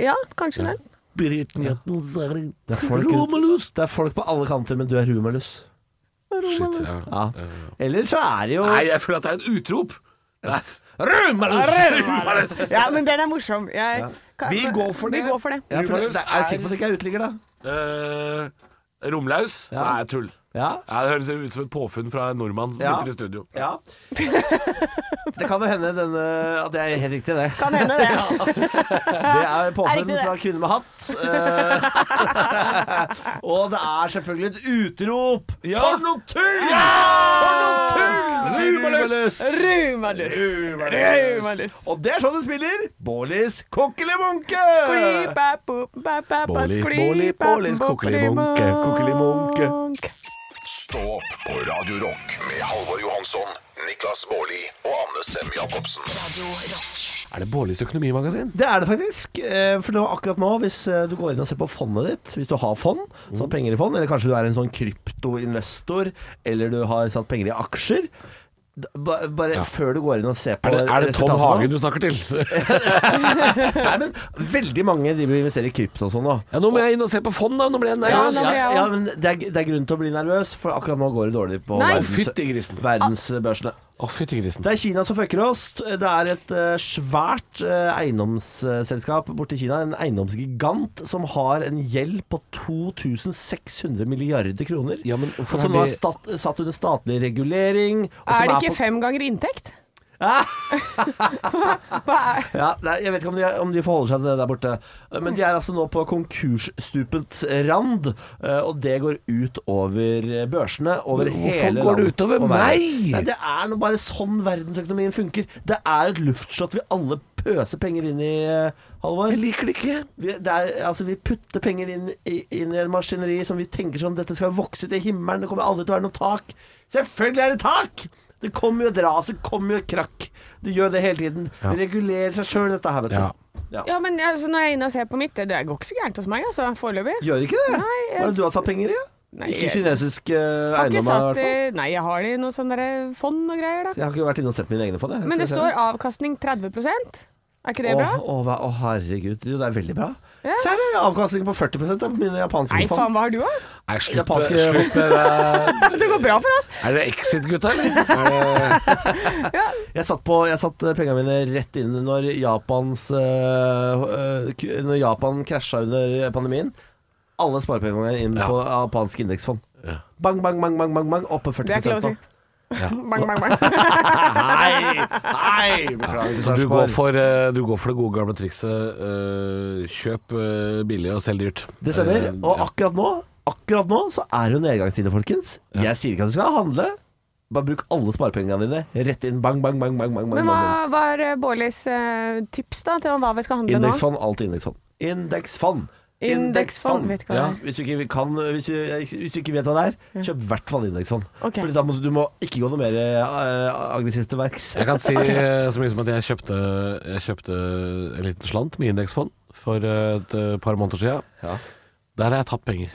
[SPEAKER 4] Ja, kanskje den.
[SPEAKER 3] Det er, folk, det er folk på alle kanter, men du er rumalus.
[SPEAKER 5] Shit, ja.
[SPEAKER 3] Ja. Eller så er det jo
[SPEAKER 5] Nei, jeg føler at det er et utrop. Nei. Rumalus! Rumalus!
[SPEAKER 4] Ja, men den er morsom. Jeg,
[SPEAKER 5] Vi går for det.
[SPEAKER 4] Vi går for det.
[SPEAKER 3] ja, for det, det er, jeg sikker på at det ikke er uteligger, da.
[SPEAKER 5] Eh, Romlaus?
[SPEAKER 3] Ja.
[SPEAKER 5] Nei, tull.
[SPEAKER 3] Ja.
[SPEAKER 5] Ja, det høres ut som et påfunn fra en nordmann som
[SPEAKER 3] Ja.
[SPEAKER 5] sitter i studio.
[SPEAKER 3] Ja. Det kan jo hende denne, at det er helt riktig, det.
[SPEAKER 4] Kan hende det.
[SPEAKER 3] Det er
[SPEAKER 4] Er
[SPEAKER 3] påfunn
[SPEAKER 4] riktig, det.
[SPEAKER 3] fra kvinne med hatt. Eh, og det er selvfølgelig et utrop. For noe tull! For noe tull! Rubaløs!
[SPEAKER 4] Rumalus! Rumalus!
[SPEAKER 3] Og det er sånn du spiller Bålis kokkelimunke!
[SPEAKER 4] Båli,
[SPEAKER 5] båli, bålis, kokkelimunke, kokkelimunke.
[SPEAKER 2] Stå opp på Radio Rock med Halvor Johansson, Niklas Baarli og Anne Sem Jacobsen.
[SPEAKER 6] Radio Rock.
[SPEAKER 5] Er det Bårlis økonomimagasin?
[SPEAKER 3] Det er det faktisk. eh, For det var akkurat nå, hvis eh, du går inn og ser på fondet ditt, hvis du har fond,
[SPEAKER 5] Mm.
[SPEAKER 3] satt penger i fond, eller kanskje du er en sånn kryptoinvestor, eller du har satt penger i aksjer d- ba- Bare før du går inn og ser på
[SPEAKER 5] Er det, er det Tom
[SPEAKER 3] resultatene.
[SPEAKER 5] Hagen du snakker til?
[SPEAKER 3] Nei, men veldig mange driver og investerer i krypto og sånn nå.
[SPEAKER 5] Ja, nå må jeg inn og se på fond, da. Nå ble jeg nervøs.
[SPEAKER 3] Ja,
[SPEAKER 4] nå blir jeg
[SPEAKER 3] ja,
[SPEAKER 4] også.
[SPEAKER 3] men det er, det er grunn til å bli nervøs, for akkurat nå går det dårlig på
[SPEAKER 4] Nei.
[SPEAKER 5] Fytti grisen.
[SPEAKER 3] verdensbørsene.
[SPEAKER 5] Å, fytti grisen.
[SPEAKER 3] Det er Kina som fucker oss. Det er et eh, svært eh, eiendomsselskap borte i Kina, en eiendomsgigant, som har en gjeld på 2600 milliarder kroner.
[SPEAKER 5] Ja, men hvorfor
[SPEAKER 3] og som
[SPEAKER 5] er
[SPEAKER 3] nå
[SPEAKER 5] de-
[SPEAKER 3] er stat, satt under statlig regulering. Og
[SPEAKER 4] Er
[SPEAKER 3] som
[SPEAKER 4] det ikke
[SPEAKER 3] på-
[SPEAKER 4] fem ganger inntekt?
[SPEAKER 3] Ah!
[SPEAKER 4] Hva er
[SPEAKER 3] Ja, nei, jeg vet ikke om de, om de forholder seg til det der borte. Men de er altså nå på konkursstupets rand, eh, og det går ut over eh, børsene. Over hele
[SPEAKER 5] går det
[SPEAKER 3] landet
[SPEAKER 5] ut over
[SPEAKER 3] og verden.
[SPEAKER 5] meg?
[SPEAKER 3] Nei, det er nå bare sånn verdensøkonomien funker. Det er et luftslott vi alle pøser penger inn i, eh, Halvor.
[SPEAKER 5] Jeg liker det ikke.
[SPEAKER 3] Vi, det er, altså, vi putter penger inn, i- inn i en maskineri som vi tenker sånn Dette skal vokse til himmelen, det kommer aldri til å være noe tak. Selvfølgelig er det tak! Det kommer jo et ras, det kommer jo et krakk. Det gjør det hele tiden. Det regulerer seg sjøl, dette her, vet du.
[SPEAKER 5] Ja.
[SPEAKER 3] Ja.
[SPEAKER 4] Ja, men altså, når jeg er inne og ser på mitt, det- det går ikke så gærent hos meg, altså, foreløpig.
[SPEAKER 3] Gjør det ikke det?
[SPEAKER 4] Nei, jeg-
[SPEAKER 3] Hva er det du har satt penger i?
[SPEAKER 4] Nei,
[SPEAKER 3] ikke
[SPEAKER 4] jeg-
[SPEAKER 3] kinesisk uh,
[SPEAKER 4] Har ikke
[SPEAKER 3] eiendom, i hvert
[SPEAKER 4] satt
[SPEAKER 3] fall.
[SPEAKER 4] i Nei, jeg har det i noe sånn derre fond og greier, da.
[SPEAKER 3] Jeg har ikke vært inne og sett mine egne fond. jeg.
[SPEAKER 4] Men det
[SPEAKER 3] Skal jeg
[SPEAKER 4] står avkastning 30 Er ikke
[SPEAKER 3] se.
[SPEAKER 4] det
[SPEAKER 3] Å,
[SPEAKER 4] bra?
[SPEAKER 3] å, hva- å, herregud. Jo, det er veldig bra.
[SPEAKER 4] Ja.
[SPEAKER 3] Se her, det er avkastning på 40 av mine japanske
[SPEAKER 4] Nei, faen,
[SPEAKER 3] fond.
[SPEAKER 4] hva har du, da?
[SPEAKER 5] Nei, slutt, med-
[SPEAKER 3] Japanske-
[SPEAKER 5] slutt med det.
[SPEAKER 4] Det går bra for oss.
[SPEAKER 5] Er det Exit, gutta, eller? Er det-
[SPEAKER 3] Jeg satt, på, jeg satt eh, pengene mine rett inn når, Japans, eh, eh, k- når Japan krasja under pandemien. Alle sparepengene mine inn
[SPEAKER 5] Ja.
[SPEAKER 3] på japansk indeksfond.
[SPEAKER 5] Ja.
[SPEAKER 3] Bang, bang, bang, bang, bang, bang oppe 40
[SPEAKER 4] Det er ikke lov å si. Bang, bang, bang.
[SPEAKER 3] Nei! Nei! Beklager.
[SPEAKER 5] Så du
[SPEAKER 3] Sarpsborg.
[SPEAKER 5] går, for, eh, du går for det gode gamle trikset eh, kjøp eh, billig og selg dyrt.
[SPEAKER 3] Det stemmer.
[SPEAKER 5] Eh,
[SPEAKER 3] Og akkurat nå Akkurat nå så er det jo nedgangstider, folkens. Jeg sier ikke at du skal handle. Bare bruk alle sparepengene dine rett inn. Bang, bang, bang. bang, bang, bang,
[SPEAKER 4] Men
[SPEAKER 3] bang.
[SPEAKER 4] hva var eh, Bårlis eh, tips da til hva vi skal handle nå?
[SPEAKER 3] Indeksfond, alt indeksfond. Indeksfond.
[SPEAKER 4] Indeksfond, vet ikke hva det er.
[SPEAKER 3] Hvis, du ikke kan, hvis, du, hvis du ikke vet hva det er, kjøp i hvert fall indeksfond.
[SPEAKER 4] Ok.
[SPEAKER 3] Fordi da må du, du må ikke gå noe mer eh, aggressivt til verks.
[SPEAKER 5] Jeg kan si eh, så mye som at jeg kjøpte, jeg kjøpte en liten slant med indeksfond for eh, et eh, par måneder siden.
[SPEAKER 3] Ja.
[SPEAKER 5] Der har jeg tapt penger.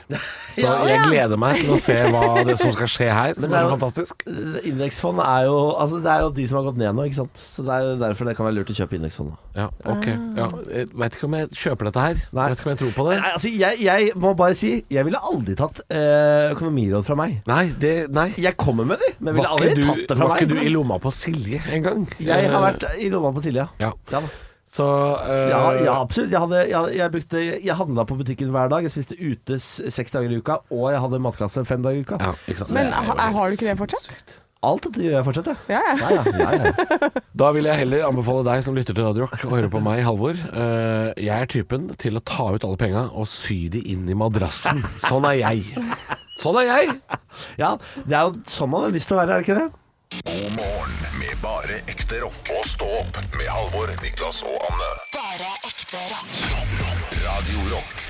[SPEAKER 5] Så jeg gleder meg til å se hva det som skal skje her, som
[SPEAKER 3] det er
[SPEAKER 5] er så
[SPEAKER 3] jo-
[SPEAKER 5] fantastisk.
[SPEAKER 3] Indeksfond er jo altså, Det er jo de som har gått ned nå, ikke sant. Så det er jo derfor det kan være lurt å kjøpe indeksfond nå.
[SPEAKER 5] Ja, ok. Ja, jeg vet ikke om jeg kjøper dette her.
[SPEAKER 3] Ah. Nei.
[SPEAKER 5] Vet ikke om jeg tror på det.
[SPEAKER 3] Nei, altså, jeg, jeg må bare si, jeg ville aldri tatt eh, økonomiråd fra meg.
[SPEAKER 5] Nei, det Nei.
[SPEAKER 3] Jeg kommer med de, men ville
[SPEAKER 5] Var ikke,
[SPEAKER 3] aldri tatt
[SPEAKER 5] du,
[SPEAKER 3] det fra
[SPEAKER 5] var ikke du i
[SPEAKER 3] meg.
[SPEAKER 5] lomma på Silje en gang?
[SPEAKER 3] Jeg har
[SPEAKER 5] Eh,
[SPEAKER 3] vært i lomma på Silja.
[SPEAKER 5] Ja.
[SPEAKER 3] Ja, da.
[SPEAKER 5] Så eh,
[SPEAKER 3] ja, ja absolutt. Jeg, hadde, jeg, jeg, brukte, jeg handla på butikken hver dag. Jeg spiste ute s- seks dager i uka, og jeg hadde matklasse fem dager i uka.
[SPEAKER 5] ja, ikke sant?
[SPEAKER 4] Men
[SPEAKER 5] Det er jo
[SPEAKER 4] ha- har
[SPEAKER 5] helt
[SPEAKER 4] du ikke det fortsatt?
[SPEAKER 3] Alt dette gjør jeg fortsatt, jeg.
[SPEAKER 4] Ja, ja.
[SPEAKER 3] Ja, ja, ja, ja.
[SPEAKER 5] Da vil jeg heller anbefale deg som lytter til Radio Rock å høre på meg, Halvor. Eh, jeg er typen til å ta ut alle penga og sy de inn i madrassen. Sånn er jeg. Sånn er jeg!
[SPEAKER 3] ja. Det er jo sånn man har lyst til å være, er det ikke det?
[SPEAKER 2] God morgen med bare ekte rock. Og stå opp med Halvor, Niklas og Anne.
[SPEAKER 6] Bare ekte rock.
[SPEAKER 2] Radio Rock.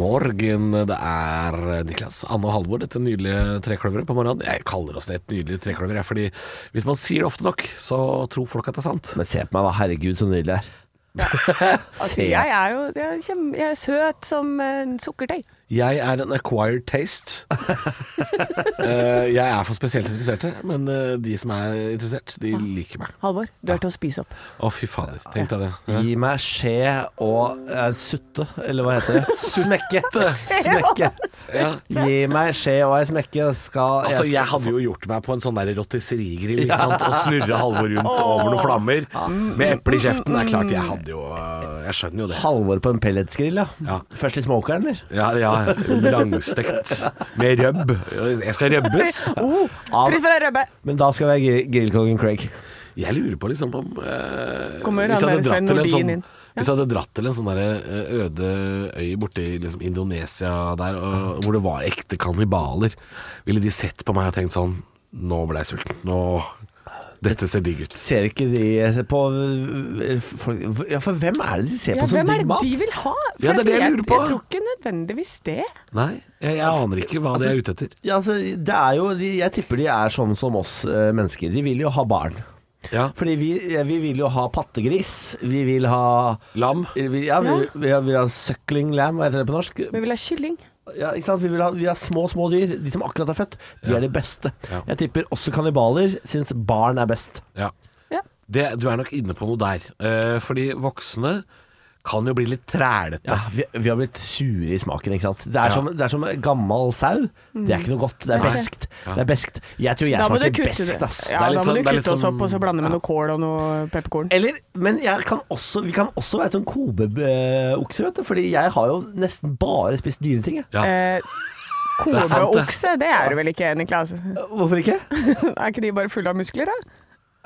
[SPEAKER 5] Morgen, det er Niklas, Anne og Halvor, dette nydelige trekløveret på morgenen. Jeg kaller oss det et nydelig trekløver, jeg, fordi hvis man sier det ofte nok, så tror folk at det er sant.
[SPEAKER 3] Men se på meg, da. Herregud, så nydelig det er.
[SPEAKER 4] Altså, jeg er jo jeg er, kjem, jeg er søt som en sukkertøy.
[SPEAKER 5] Jeg er en acquired taste. Eh, jeg er for spesielt interesserte, men eh, de som er interessert, de liker meg.
[SPEAKER 4] Halvor, du er til å spise opp.
[SPEAKER 5] Å, fy fader. Tenk deg det.
[SPEAKER 3] Gi meg skje og eh, sutte, eller hva heter det? Smekke. Smekke.
[SPEAKER 5] Ja.
[SPEAKER 3] Gi meg skje og ei smekke, skal
[SPEAKER 5] Altså, jeg hadde jo gjort meg på en sånn der rotisserigrill ikke sant? og snurra Halvor rundt over noen flammer med eple i kjeften. Det er klart, jeg hadde jo eh, Jeg jeg skjønner jo det.
[SPEAKER 3] Halvor på en pelletsgrill, ja.
[SPEAKER 5] Ja.
[SPEAKER 3] Først i smokeren, eller?
[SPEAKER 5] Ja, ja, langstekt med røbb. Jeg skal røbbes.
[SPEAKER 4] Oh, fritt fra rødbe.
[SPEAKER 3] Men da skal vi ha gri- grillkongen Craig.
[SPEAKER 5] Jeg lurer på liksom om eh,
[SPEAKER 4] Kommer
[SPEAKER 5] hvis, jeg
[SPEAKER 4] han der Svein
[SPEAKER 5] hadde dratt til en
[SPEAKER 4] Nordin
[SPEAKER 5] sånn,
[SPEAKER 4] inn?
[SPEAKER 5] hvis jeg hadde dratt til en sånn der, eh, øde øy borti liksom, Indonesia der, og, hvor det var ekte kannibaler, ville de sett på meg og tenkt sånn Nå ble jeg sulten. Nå Dette ser digg ut.
[SPEAKER 3] Ser ikke de eh, på eh, folk Ja, for hvem er det de ser
[SPEAKER 4] Ja,
[SPEAKER 3] på som
[SPEAKER 4] hvem er
[SPEAKER 3] digg
[SPEAKER 4] det
[SPEAKER 3] mat?
[SPEAKER 4] de vil ha? For
[SPEAKER 5] sånn Ja, det er
[SPEAKER 4] at
[SPEAKER 5] det jeg lurer på.
[SPEAKER 4] Jeg tror ikke nødvendigvis det.
[SPEAKER 5] Nei, jeg, jeg aner ikke hva de er ute etter.
[SPEAKER 3] Ja, altså, det er jo, de, jeg tipper de er sånn som oss eh, mennesker. De vil jo ha barn.
[SPEAKER 5] Ja.
[SPEAKER 3] Fordi vi, eh, vi vil jo ha pattegris. Vi vil ha
[SPEAKER 5] Lam.
[SPEAKER 3] eh, vi, ja, vi,
[SPEAKER 4] Ja. Mm.
[SPEAKER 3] vi, vil ha suckling lam, hva heter det på norsk?
[SPEAKER 4] Vi vil ha kylling.
[SPEAKER 3] Ja, ikke sant? Vi, vil ha, vi har små, små dyr. De som akkurat er født, de er de beste.
[SPEAKER 5] Ja.
[SPEAKER 3] Jeg tipper også kannibaler syns barn er best.
[SPEAKER 5] Ja.
[SPEAKER 4] Ja.
[SPEAKER 5] Det, du er nok inne på noe der. Eh, fordi voksne kan jo bli litt trælete.
[SPEAKER 3] Ja, vi, vi har blitt sure i smaken, ikke sant. Det er,
[SPEAKER 5] Ja.
[SPEAKER 3] som, det er som gammal sau. Det er ikke noe godt. Det er
[SPEAKER 4] Mm. Nei.
[SPEAKER 3] beskt. Det er beskt. Jeg tror jeg
[SPEAKER 4] Da må du
[SPEAKER 3] smaker
[SPEAKER 4] kutte
[SPEAKER 3] beskt,
[SPEAKER 4] det.
[SPEAKER 3] ass.
[SPEAKER 4] Ja,
[SPEAKER 5] Det er
[SPEAKER 4] da
[SPEAKER 5] litt
[SPEAKER 4] må
[SPEAKER 5] sånn-
[SPEAKER 4] du
[SPEAKER 5] det er litt
[SPEAKER 4] kutte oss
[SPEAKER 5] sånn-
[SPEAKER 4] opp og så blande med noe kål og noe pepperkorn.
[SPEAKER 3] Eller, men jeg kan også, vi kan også være sånn kobeokse, vet du. Fordi jeg har jo nesten bare spist dyreting, jeg.
[SPEAKER 5] Ja.
[SPEAKER 4] Eh,
[SPEAKER 5] er
[SPEAKER 4] Kone
[SPEAKER 5] sant,
[SPEAKER 4] og
[SPEAKER 5] det.
[SPEAKER 4] okse, det er du vel ikke, Niklas?
[SPEAKER 3] Hvorfor ikke?
[SPEAKER 4] Er ikke de bare fulle av muskler, da?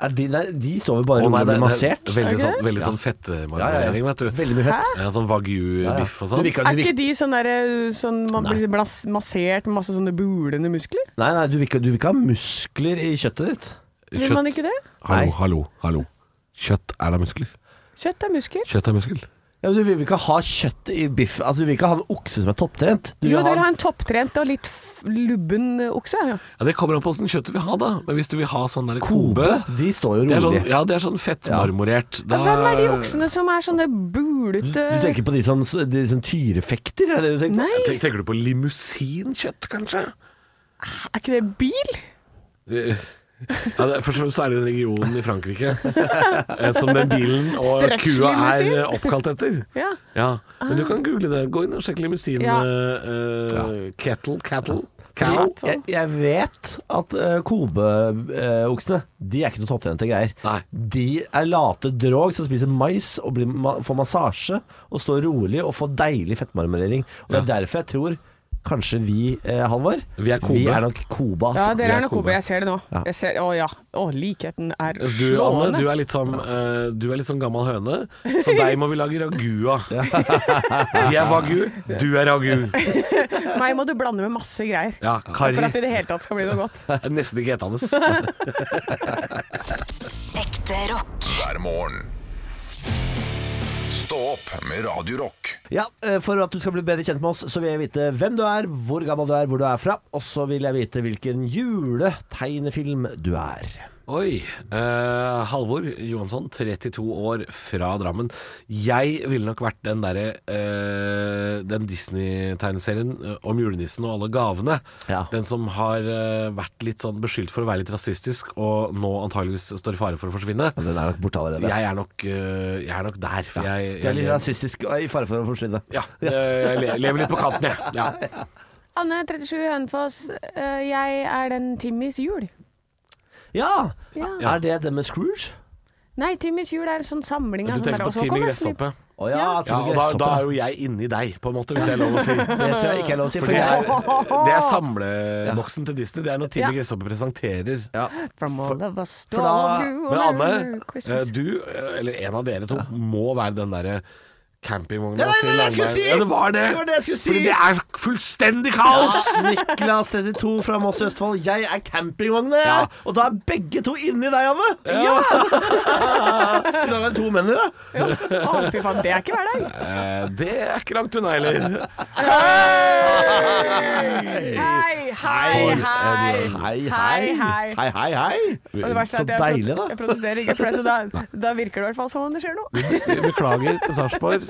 [SPEAKER 3] Er de, nei, de står vel bare
[SPEAKER 5] Å,
[SPEAKER 3] og
[SPEAKER 5] nei, det-
[SPEAKER 3] blir
[SPEAKER 5] det-
[SPEAKER 3] massert.
[SPEAKER 5] Veldig
[SPEAKER 4] Er det
[SPEAKER 5] sånn,
[SPEAKER 4] det?
[SPEAKER 5] veldig sånn
[SPEAKER 3] Ja, ja,
[SPEAKER 5] fettemarginering,
[SPEAKER 3] ja.
[SPEAKER 5] vet du.
[SPEAKER 3] Veldig mye fett.
[SPEAKER 5] Ja, sånn wagyu-biff og sånn.
[SPEAKER 3] Du virker- du
[SPEAKER 4] Er
[SPEAKER 3] virker-
[SPEAKER 4] ikke de sånn derre sånn man blir blas, massert med masse sånne bulende muskler?
[SPEAKER 3] Nei, nei, du vil ikke, du vil ikke ha muskler i kjøttet ditt.
[SPEAKER 4] Vil man ikke det?
[SPEAKER 5] Hallo,
[SPEAKER 3] Nei.
[SPEAKER 5] hallo, hallo. Kjøtt er da muskler.
[SPEAKER 4] Kjøtt er muskel.
[SPEAKER 5] Kjøtt er muskel.
[SPEAKER 3] Ja, men du vil ikke ha kjøtt i biff Altså, du vil ikke ha en okse som er topptrent. Du
[SPEAKER 4] Jo,
[SPEAKER 3] vil
[SPEAKER 4] du vil
[SPEAKER 3] ha
[SPEAKER 4] ha en topptrent og litt f- lubben okse. Ja.
[SPEAKER 5] Ja, det kommer an på åssen kjøtt du vil ha, da. Men hvis du vil ha sånn der kobe
[SPEAKER 3] kobe. De står jo
[SPEAKER 5] det er
[SPEAKER 3] rolig.
[SPEAKER 5] sånn, Ja, det er sånn fettmarmorert.
[SPEAKER 4] Ja,
[SPEAKER 5] Da-
[SPEAKER 4] Hvem er de
[SPEAKER 5] Ah.
[SPEAKER 4] oksene som er sånne bulete
[SPEAKER 3] Du tenker på de som, de som tyrefekter? Er det det du tenker på?
[SPEAKER 4] Nei,
[SPEAKER 5] Tenk- Tenker du på limousinkjøtt, kanskje?
[SPEAKER 4] er ikke det bil?
[SPEAKER 5] Eh, Ja, det, først og fremst så er det en region i Frankrike eh, som den bilen og
[SPEAKER 4] Stretch
[SPEAKER 5] kua er
[SPEAKER 4] limousin.
[SPEAKER 5] eh, oppkalt etter.
[SPEAKER 4] Ja. Ah.
[SPEAKER 5] Ja, Men du kan google det. Gå inn og sjekk limousin
[SPEAKER 4] Ja.
[SPEAKER 5] eh, eh, Kettle, cattle, cow.
[SPEAKER 3] Jeg,
[SPEAKER 5] Sånn.
[SPEAKER 3] jeg, jeg vet at uh, kobeoksene De er ikke noe topptrente greier.
[SPEAKER 5] Nei.
[SPEAKER 3] De er late drog som spiser mais og blir, ma får massasje og står rolig og får deilig fettmarmorering. Og Det er derfor jeg tror kanskje vi, eh, Halvor
[SPEAKER 5] Vi er Kobe.
[SPEAKER 3] nok Kobe,
[SPEAKER 4] Ja,
[SPEAKER 3] altså.
[SPEAKER 5] vi
[SPEAKER 4] dere
[SPEAKER 5] er
[SPEAKER 4] er nok
[SPEAKER 5] Kobe.
[SPEAKER 4] hobe. Jeg ser det nå.
[SPEAKER 3] Ja.
[SPEAKER 4] Jeg ser, å ja. Å, likheten er
[SPEAKER 5] Mens Du, Anne,
[SPEAKER 4] slående.
[SPEAKER 5] du er litt som eh, Du er litt sånn gammel høne, så deg må vi lage ragu av. Vi er wagyu, du er ragu.
[SPEAKER 4] Meg må du blande med masse greier.
[SPEAKER 5] Ja,
[SPEAKER 4] For at
[SPEAKER 5] karri.
[SPEAKER 4] det i det hele tatt skal bli noe godt.
[SPEAKER 5] Det er Nesten ikke hetende.
[SPEAKER 6] Ekte rock.
[SPEAKER 2] hver morgen. Stå opp med Radio Rock.
[SPEAKER 3] Ja, eh, For at du skal bli bedre kjent med oss, så vil jeg vite hvem du er, hvor gammel du er, hvor du er fra. Og så vil jeg vite hvilken juletegnefilm du er.
[SPEAKER 5] Oi. eh, Halvor Johansson, 32 år, fra Drammen. Jeg ville nok vært den derre eh, Den Disney-tegneserien eh, om julenissen og alle gavene.
[SPEAKER 3] Ja.
[SPEAKER 5] Den som har eh, vært litt sånn beskyldt for å være litt rasistisk, og nå antageligvis står i fare for å forsvinne.
[SPEAKER 3] Den er nok borte allerede.
[SPEAKER 5] Jeg er nok, eh, jeg er nok der. For jeg,
[SPEAKER 3] Du er litt
[SPEAKER 5] jeg-
[SPEAKER 3] rasistisk og i fare for å forsvinne.
[SPEAKER 5] Ja, jeg le- lever litt på kanten, jeg. Ja.
[SPEAKER 4] Anne 37 Hønefoss, eh, jeg er den Timmys jul.
[SPEAKER 3] Ja!
[SPEAKER 4] Ja.
[SPEAKER 3] Er det det med Scrooge?
[SPEAKER 4] Nei, Timmys jul er en sånn samling av
[SPEAKER 5] Du
[SPEAKER 4] sånne
[SPEAKER 5] tenker
[SPEAKER 4] der,
[SPEAKER 5] på
[SPEAKER 4] og så
[SPEAKER 5] Timmy
[SPEAKER 4] kommer Snipp-
[SPEAKER 5] Gresshoppe.
[SPEAKER 3] Å ja,
[SPEAKER 4] Ja.
[SPEAKER 5] Ja,
[SPEAKER 3] Timmy
[SPEAKER 5] og da, da
[SPEAKER 3] Gresshoppe.
[SPEAKER 5] er jo jeg inni deg, på en måte, hvis det er lov å si.
[SPEAKER 3] Det tror jeg ikke er lov å si.
[SPEAKER 5] For
[SPEAKER 3] For
[SPEAKER 5] det er,
[SPEAKER 3] jeg,
[SPEAKER 5] det er samleboksen til Disney. Det er når Timmy
[SPEAKER 4] Ja.
[SPEAKER 5] Gresshoppe presenterer.
[SPEAKER 4] From all of us to
[SPEAKER 3] for da-
[SPEAKER 4] all of you,
[SPEAKER 5] Men
[SPEAKER 4] all
[SPEAKER 5] Anne,
[SPEAKER 4] Merry Christmas.
[SPEAKER 5] eh, du, eh, eller en av dere to, må være den derre campingvogna
[SPEAKER 3] Ja, det
[SPEAKER 5] til
[SPEAKER 3] var det jeg skulle
[SPEAKER 5] Langbein.
[SPEAKER 3] si!
[SPEAKER 5] Ja, det var det!
[SPEAKER 3] Det var det jeg skulle si!
[SPEAKER 5] Fordi det er fullstendig kaos!
[SPEAKER 3] Niklas 32 fra Moss i Østfold, jeg er campingvogna, jeg!
[SPEAKER 5] Ja.
[SPEAKER 3] Og da er begge to inni deg, Anne! Ja! I dag er det to menn i det.
[SPEAKER 4] Å, fy faen, det er ikke hverdag.
[SPEAKER 5] Eh, Det er ikke langt unna heller.
[SPEAKER 4] Hei, hei, hei.
[SPEAKER 3] Hei,
[SPEAKER 4] Hei, hei.
[SPEAKER 3] Hei, hei, hei.
[SPEAKER 4] Og det
[SPEAKER 3] Så
[SPEAKER 4] verste er at jeg pro-
[SPEAKER 3] deilig, da.
[SPEAKER 4] Jeg protesterer ikke, for det, da, da virker det i hvert fall som om det skjer noe.
[SPEAKER 5] Beklager til Sarpsborg.